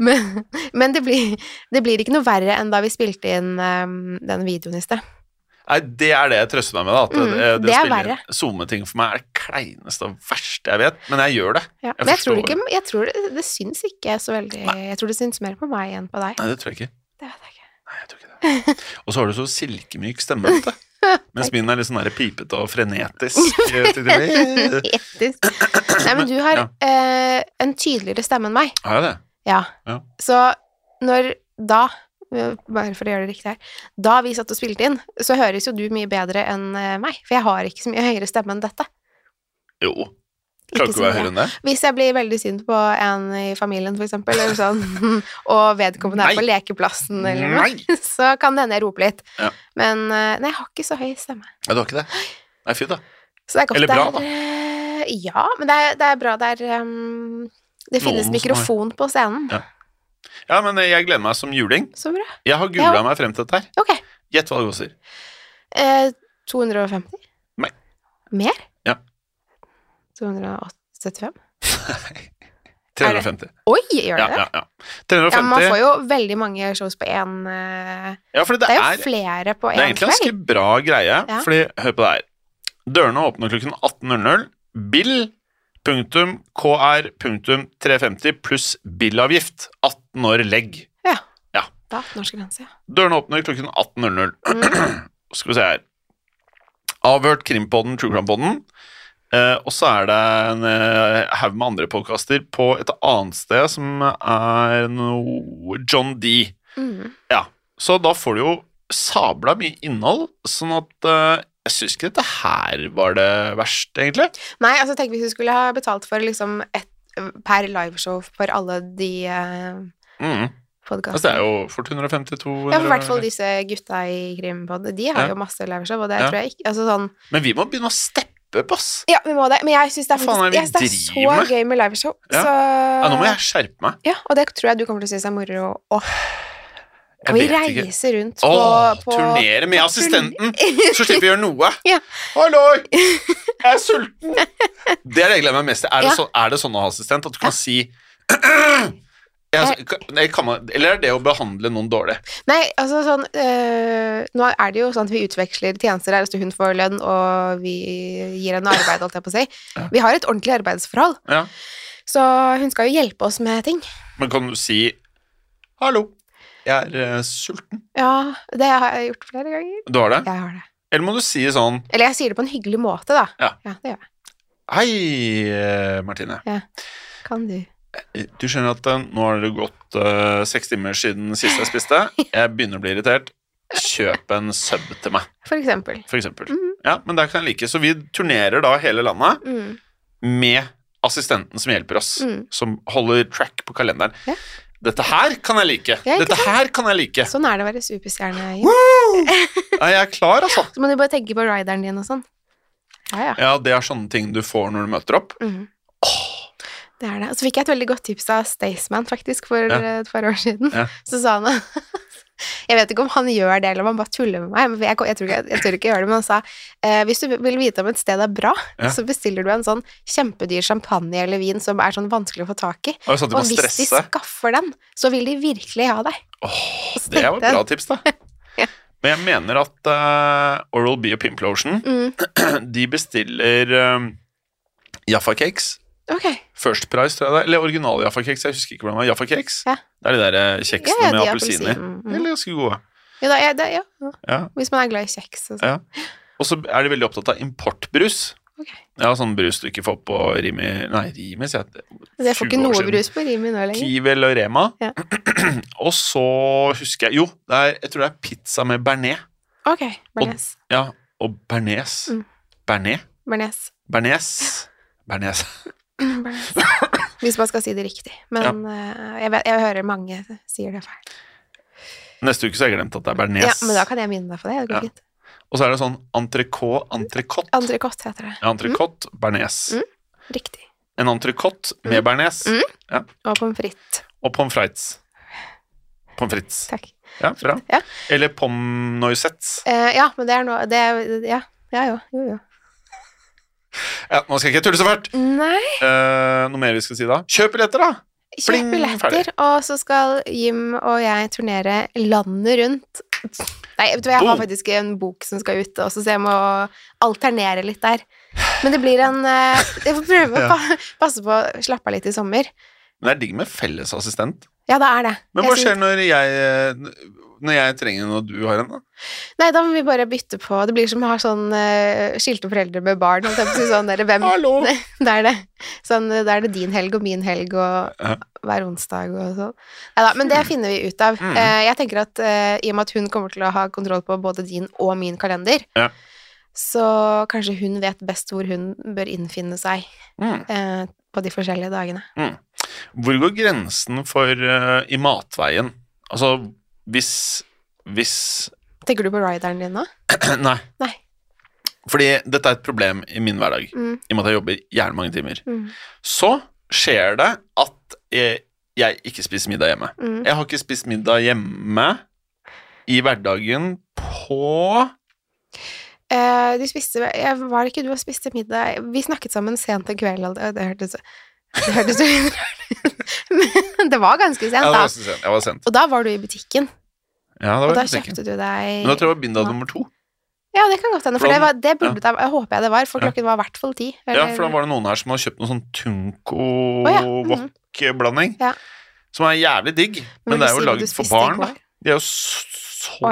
S2: Men, men det, blir, det blir ikke noe verre enn da vi spilte inn um, den videoen i sted.
S1: Nei, Det er det jeg trøster meg med. da, at
S2: Mm,
S1: det,
S2: det er
S1: spiller-
S2: verre.
S1: SoMe-ting for meg er det kleineste og verste jeg vet, men jeg gjør det.
S2: Ja.
S1: Jeg
S2: Men jeg tror, det
S1: forstår.
S2: ikke, jeg tror det, det syns ikke så veldig Jeg tror det syns mer på meg enn på deg.
S1: Nei, det tror jeg ikke.
S2: Det vet jeg ikke.
S1: Nei, jeg tror ikke det. Og så har du så silkemyk stemme, vet du. Mens min er litt sånn der pipete og frenetisk. eh, til tider.
S2: Etisk. Nei, men du har eh, en tydeligere stemme enn meg.
S1: Har jeg det?
S2: Ja.
S1: Ja.
S2: Så når da eh, bare for å gjøre det riktig her Da vi satt og spilte inn, så høres jo du mye bedre enn eh, meg. For jeg har ikke så mye høyere stemme enn dette.
S1: Jo. Klarer
S2: Ikke
S1: ikke å være
S2: så mye.
S1: høyere enn det.
S2: Hvis jeg blir veldig sint på en i familien, for eksempel, eller sånn, og vedkommende er på lekeplassen, eller noe,
S1: Nei!
S2: så kan det hende jeg roper litt.
S1: Ja.
S2: Men eh, nei, jeg har ikke så høy stemme.
S1: Nei, du har ikke det? Nei, fy da.
S2: Så det er godt
S1: Eller bra,
S2: det er, eh, Ja, men det er, det er bra det er ehm, Det finnes
S1: Noen som
S2: mikrofon på scenen.
S1: Ja. Ja, men jeg gleder meg som juling.
S2: Så bra.
S1: Jeg har googla meg frem til dette her.
S2: Ok.
S1: Gjett hva det koster.
S2: Eh, 250?
S1: Nei.
S2: Mer?
S1: Ja.
S2: 275?
S1: 350.
S2: Oi, gjør
S1: Ja,
S2: det
S1: ja,
S2: det?
S1: ja.
S2: Ja, men
S1: 350.
S2: man får
S1: Ja,
S2: jo veldig mange shows på én eh,
S1: for det
S2: Det er jo
S1: er,
S2: flere på
S1: det er
S2: én
S1: egentlig en
S2: kveld.
S1: ganske bra greie,
S2: Ja.
S1: fordi hør på det her. Dørene åpner klokken 18.00. Bill.kr.350 pluss billavgift. 18 år legg.
S2: Da, norsk grense. ja.
S1: Dørene åpner klokken 18.00.
S2: Mm.
S1: Skal vi se her. Avhørt Krimpodden, True Crime-podden. Eh, og så er det en eh, haug med andre podkaster på et annet sted som er noe John D.
S2: Mm.
S1: Så da får du jo sabla mye innhold, sånn at eh, jeg syns ikke dette her var det verste, egentlig.
S2: Nei, altså tenk hvis du skulle ha betalt for liksom ett per liveshow for alle de uh,
S1: Mm. Altså, det er
S2: podkastene.
S1: jo fort 152
S2: Ja, for i hvert fall disse gutta i Krimpod. De har
S1: Ja.
S2: jo masse liveshow, og det
S1: Ja.
S2: tror jeg ikke Altså sånn
S1: Men vi må begynne å steppe opp, ass.
S2: Ja, vi må det. Men jeg syns det
S1: Hva
S2: er,
S1: faen er
S2: faktisk,
S1: det vi
S2: jeg synes det
S1: driver med?
S2: er så gøy med liveshow.
S1: Ja.
S2: Så
S1: Ja, nå må jeg skjerpe meg.
S2: Ja, og det tror jeg du kommer til å synes er moro. Og
S1: Jeg
S2: kan vi
S1: vet ikke.
S2: reise rundt på,
S1: Åh,
S2: på
S1: turnere med assistenten, så slipper vi å gjøre noe.
S2: Ja.
S1: Halloi! Jeg er sulten! Det er det jeg gleder meg mest til. Er, det
S2: Ja.
S1: sånn- er det sånn å ha assistent at du kan si jeg, nei, kan man, Eller er det å behandle noen dårlig?
S2: Nei, altså sånn øh, Nå er det jo sånn at vi utveksler tjenester her. Altså hun får lønn, og vi gir henne arbeid, holdt jeg på å si.
S1: Ja.
S2: Vi har et ordentlig arbeidsforhold,
S1: Ja.
S2: så hun skal jo hjelpe oss med ting.
S1: Men kan du si 'hallo, jeg er eh, sulten'?
S2: Ja, det har jeg gjort flere ganger.
S1: Du har det?
S2: Jeg har det.
S1: Eller må du si sånn
S2: Eller jeg sier det på en hyggelig måte, da.
S1: Ja.
S2: det gjør jeg.
S1: 'hei, eh, Martine'.
S2: Kan du.
S1: Du skjønner at eh, nå har det gått eh, seks timer siden sist jeg spiste. Jeg begynner å bli irritert. Kjøp en sub til meg.
S2: For eksempel.
S1: for eksempel.
S2: Mhm.
S1: Ja, men der kan jeg like. Så vi turnerer da hele landet
S2: Mm,
S1: med assistenten som hjelper oss,
S2: mm.
S1: som holder track på kalenderen.
S2: Ja.
S1: Dette her kan jeg like!
S2: Ja, ikke
S1: Dette her kan jeg like!
S2: Sånn er det å være superstjerne. Jim.
S1: Woo! Ja, jeg er klar, altså.
S2: Så må du bare tenke på rideren din og sånn. Ja, ja.
S1: Ja, det er sånne ting du får når du møter opp.
S2: Mhm. Det er det. Og så fikk jeg et veldig godt tips av Staysman faktisk for
S1: Ja.
S2: eh, et par år siden.
S1: Ja.
S2: Så sa han Jeg vet ikke om han gjør det, eller om han bare tuller med meg. Men jeg, jeg, tror ikke, jeg tør ikke gjøre det, men han sa eh, hvis du vil vite om et sted er bra,
S1: Ja.
S2: så bestiller du en sånn kjempedyr champagne eller vin som er sånn vanskelig å få tak i.
S1: Og sånn at du
S2: Og
S1: kan
S2: hvis de
S1: stresse.
S2: skaffer den, så vil de virkelig ha deg.
S1: Åh,
S2: så
S1: det var et
S2: tenkte
S1: bra
S2: jeg-
S1: tips, da.
S2: Ja.
S1: Men jeg mener at eh, Oral-B og Pimplotion
S2: Mm.
S1: de bestiller eh, Jaffa Cakes.
S2: Ok.
S1: First Price, tror jeg det er. Eller original Jaffa Cakes. Jeg husker ikke hvordan det var. Jaffa Cakes.
S2: Ja.
S1: Det er de der eh, kjeksene
S2: Ja, ja,
S1: med
S2: de
S1: appelsiner.
S2: appelsin-
S1: De
S2: Mm.
S1: er ganske gode.
S2: Jo da, ja, det, ja. ja.
S1: Ja.
S2: Hvis man er glad i kjeks og
S1: Ja.
S2: sånn.
S1: Og så er de veldig opptatt av importbrus.
S2: Ok.
S1: Ja, sånn brus du ikke får på Rimi Nei, Rimi, sier jeg.
S2: Jeg
S1: 20
S2: får ikke
S1: år
S2: noe
S1: siden.
S2: brus på Rimi nå lenger.
S1: Kiwi eller Rema.
S2: Ja.
S1: og så husker jeg Jo, det er, jeg tror det er pizza med bearnés.
S2: Ok. Bernes.
S1: Ja, og bearnés.
S2: Mm.
S1: Bearnés?
S2: Bernes.
S1: Bearnés. Bearnés.
S2: Hvis man skal si det riktig. Men eh, jeg, vet, jeg hører mange sier det feil.
S1: Neste uke så har jeg glemt at det er bearnés.
S2: Ja, men da kan jeg minne deg på det.
S1: Ja.
S2: Det går fint.
S1: Og så er det sånn entrecôte, entrecôte.
S2: Entrecôte heter det.
S1: Ja, entrecôte, bearnés.
S2: Mm. Riktig.
S1: En entrecôte med bearnés
S2: Mm. Og pommes frites.
S1: og pommes frites. Pommes frites.
S2: Takk.
S1: Ja, bra.
S2: Ja.
S1: Eller pommes noisettes.
S2: Eh, ja, men det er noe det er, Ja, ja jo, jo, jo.
S1: Ja, nå skal jeg ikke tulle så fælt.
S2: Nei,
S1: Eh, noe mer vi skal si da? Kjøp billetter, da! Pling,
S2: kjøp billetter,
S1: ferdig.
S2: og så skal Jim og jeg turnere landet rundt. Nei, vet du hva, jeg har
S1: Boom.
S2: faktisk en bok som skal ut også, så jeg må alternere litt der. Men det blir en eh, Jeg får prøve å
S1: Ja.
S2: pa passe på å slappe av litt i sommer.
S1: Men det er digg med fellesassistent.
S2: Ja, det er det.
S1: Men
S2: Jeg
S1: hva
S2: syns-
S1: skjer når jeg, når jeg trenger en og du har en, da?
S2: Nei, da må vi bare bytte på Det blir som å ha sånn eh, skilte foreldre med barn. holdt jeg på å si, Sånn, der, hvem,
S1: Hallo!
S2: da er det, sånn, eh, da er det din helg og min helg og
S1: Ja.
S2: hver onsdag og sånn. Neida, men det finner vi ut av.
S1: Mm.
S2: Eh, jeg tenker at eh, i og med at hun kommer til å ha kontroll på både din og min kalender,
S1: Ja.
S2: så kanskje hun vet best hvor hun bør innfinne seg
S1: Mm.
S2: eh, på de forskjellige dagene.
S1: Hvor går grensen for eh, i matveien? Altså, hvis Hvis
S2: Tenker du på rideren din nå?
S1: Nei.
S2: Nei.
S1: Fordi dette er et problem i min hverdag,
S2: Mm,
S1: i og med at jeg jobber jævlig mange timer.
S2: mm,
S1: Så skjer det at jeg, jeg ikke spiser middag hjemme.
S2: mm.
S1: Jeg har ikke spist middag hjemme i hverdagen på
S2: Eh, du spiste jeg, Var det ikke du og spiste middag Vi snakket sammen sent en kveld, og det, det hørtes Det hørtes ut Men det var ganske
S1: Ja,
S2: sent,
S1: det var
S2: da.
S1: ganske sent. Jeg var sent.
S2: Og da var du i butikken,
S1: Ja, det
S2: og
S1: var
S2: da
S1: jeg sikker.
S2: kjøpte du
S1: Men da tror
S2: deg
S1: jeg det var bindag nummer to.
S2: Ja, det kan godt hende, for
S1: For
S2: det,
S1: da-
S2: var, det burde det, jeg håper jeg det var, for
S1: Ja.
S2: klokken var i hvert fall ti.
S1: Ja,
S2: eller-
S1: for da var det noen her som har kjøpt noe sånn
S2: Å, ja, mhm.
S1: Tunco-wok-blanding.
S2: Ja.
S1: Som er jævlig digg, men,
S2: vil
S1: det er jo
S2: du si hva du
S1: laget for
S2: spiste i
S1: barn.
S2: går?
S1: da. De er jo så
S2: Å,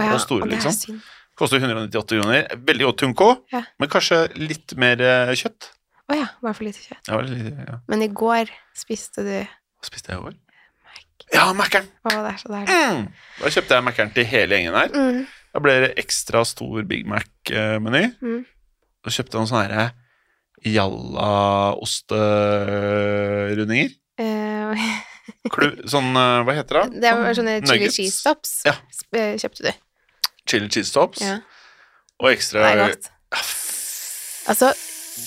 S2: ja,
S1: store,
S2: og det er
S1: liksom.
S2: synd.
S1: Koster 198 kroner. Veldig godt Tunco,
S2: Ja.
S1: men kanskje litt mer eh, kjøtt.
S2: Å ja, var for lite kjøtt.
S1: Ja, vel, ja.
S2: Men i går spiste du
S1: Hva spiste jeg i går? Ja, Mækkern!
S2: Å, det er så deilig.
S1: Mm. Da kjøpte jeg Mækkern til hele gjengen her.
S2: Mm.
S1: Da ble det ekstra stor Big Mac-meny.
S2: Mm.
S1: Da kjøpte jeg noen sånne her eh, jalla-osterundinger.
S2: Eh,
S1: Klu- Sånn, eh, hva heter det?
S2: det var sånne chili
S1: Nuggets.
S2: cheese tops
S1: Ja.
S2: sp- eh, kjøpte du.
S1: Chili cheese tops
S2: Ja,
S1: og ekstra Ah,
S2: det er godt.
S1: Ja,
S2: Altså,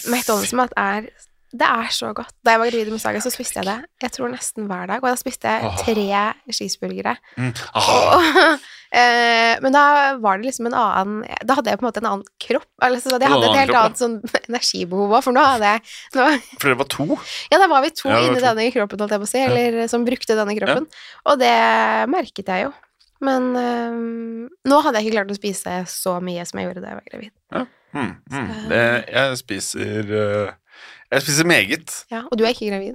S2: McDonald's-mat er Det er så godt. Da jeg var gravid med Saga, så spiste jeg det jeg tror nesten hver dag. Og da spiste jeg
S1: Åh.
S2: tre cheeseburgere.
S1: mm. ah,
S2: Eh, Men da var det liksom en annen Da hadde jeg på en måte en annen kropp. Altså, så jeg
S1: En
S2: hadde et
S1: annen
S2: helt
S1: kropp,
S2: annet sånn energibehov òg, for nå hadde jeg nå,
S1: For det var to?
S2: Ja, da var vi to
S1: Ja, det var
S2: inni
S1: to.
S2: denne kroppen, holdt jeg på å si, eller som brukte denne kroppen. Og det merket jeg jo. Men eh, nå hadde jeg ikke klart å spise så mye som jeg gjorde da jeg var gravid.
S1: Mm, mm.
S2: Så-
S1: Det, jeg spiser eh, Jeg spiser meget.
S2: Ja, og du er ikke gravid.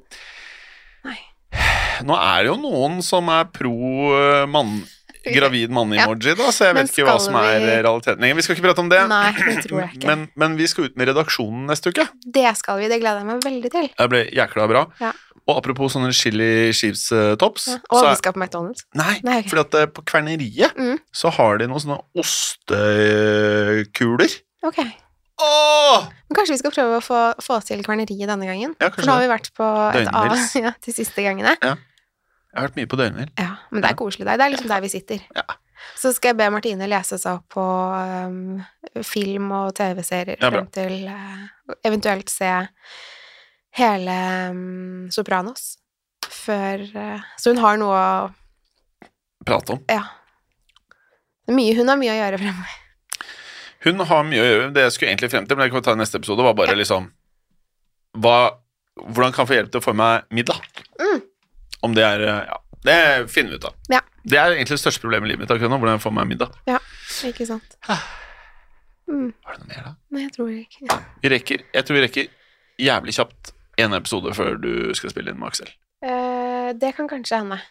S1: Nå er det jo noen som er pro eh, mann, gravid mann-emoji, da, så jeg
S2: Men
S1: vet ikke hva
S2: skal
S1: som er
S2: vi-
S1: eh, realiteten lenger. Vi skal ikke prate om det.
S2: Nei, det tror jeg ikke.
S1: Men, men vi skal ut med redaksjonen neste uke.
S2: Det skal vi, det gleder jeg meg veldig til.
S1: Det ble jækla bra.
S2: Ja.
S1: Og apropos sånne chili cheese eh, tops
S2: Ja.
S1: så
S2: Og vi
S1: er,
S2: skal på McDonald's.
S1: Nei,
S2: Nei, ok.
S1: fordi at eh, på Kverneriet
S2: Mm.
S1: så har de noen sånne ostekuler.
S2: Ok.
S1: Åh!
S2: Men kanskje vi skal prøve å få, få til kverneriet denne gangen?
S1: Ja,
S2: For nå
S1: kanskje
S2: har
S1: det.
S2: vi vært på et av
S1: Døgnvils.
S2: ja, de siste gangene.
S1: Jeg har vært mye på døgnvill.
S2: Ja, Men det er koselig der. Det er liksom der vi sitter.
S1: Ja.
S2: Så skal jeg be Martine lese seg opp på um, film og TV-serier
S1: Ja, bra.
S2: frem til eh, eventuelt se hele um, Sopranos før eh, Så hun har noe å
S1: Prate om.
S2: Ja. Mye, hun har mye å gjøre fremover.
S1: Hun har mye å gjøre. Det jeg skulle egentlig frem til, men det kan vi ta i neste episode, var bare liksom hva, Hvordan kan jeg få hjelp til å få meg middag?
S2: Mm.
S1: Om det er Ja, det finner vi ut av.
S2: Ja.
S1: Det er egentlig det største problemet i livet mitt akkurat nå. Hvordan jeg får meg middag.
S2: Ikke sant? Mm,
S1: Var det noe mer, da?
S2: nei, jeg tror ikke
S1: Vi rekker, jeg tror vi rekker jævlig kjapt en episode før du skal spille inn med Aksel.
S2: Eh, Det kan kanskje hende.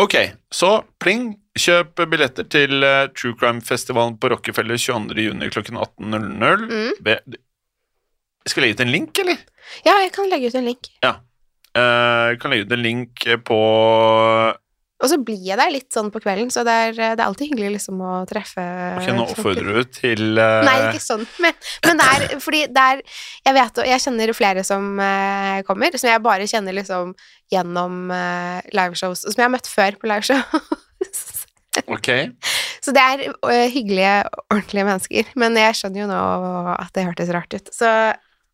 S1: Ok, så pling. Kjøp billetter til eh, True Crime-festivalen på Rockefeller 22.6 klokken 18.00.
S2: Mm.
S1: Be- Skal jeg legge ut en link, eller?
S2: Ja, jeg kan legge ut en link.
S1: Eh, kan legge ut en link på
S2: Og så blir jeg der litt sånn på kvelden, så det er, det er alltid hyggelig liksom å treffe
S1: Ok, nå
S2: folk.
S1: oppfordrer du til eh,
S2: Nei, ikke sånn, men, men det er fordi det er Jeg vet og jeg kjenner flere som eh, kommer, som jeg bare kjenner liksom gjennom eh, liveshows, og som jeg har møtt før på liveshows.
S1: Ok,
S2: Så det er eh, hyggelige, ordentlige mennesker. Men jeg skjønner jo nå at det hørtes rart ut. Så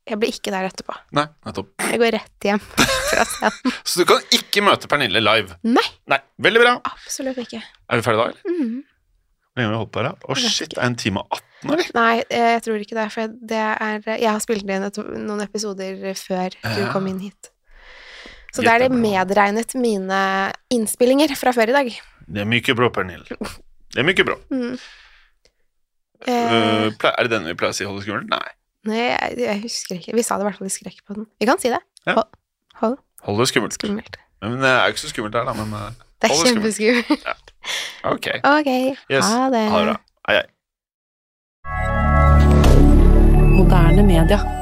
S2: Jeg blir ikke der etterpå.
S1: Nei, nettopp.
S2: Jeg går rett hjem fra scenen.
S1: Så du kan ikke møte Pernille live.
S2: Nei,
S1: Nei, veldig bra.
S2: absolutt ikke.
S1: Er vi ferdige da, eller?
S2: Mm.
S1: Hvor lenge har vi holdt på her, da? Å,
S2: vet
S1: shit, det er en time og 18, eller?
S2: Nei, eh, jeg tror ikke det. For det er, eh, jeg har spilt inn et, noen episoder før du
S1: Ja.
S2: kom inn hit. Så
S1: Gitt
S2: da er det
S1: det bra.
S2: medregnet mine innspillinger fra før i dag.
S1: Det er mye bra, Pernille. Det er mye bra.
S2: Mm. Eh,
S1: Øh, ple- er det denne vi pleier å si holde skummelt? Nei.
S2: nei, jeg, jeg husker ikke. Vi sa det i hvert fall i skrekkpodden. Vi kan si det.
S1: Ja.
S2: Hold, hold.
S1: Hold det skummelt.
S2: Skummelt.
S1: Men det er jo ikke så skummelt her, da. Men eh,
S2: Det er
S1: Hold det skummelt.
S2: kjempeskummelt.
S1: ok.
S2: Ok,
S1: Yes.
S2: ha det.
S1: Ha det bra. Hei, hei.
S4: Moderne media.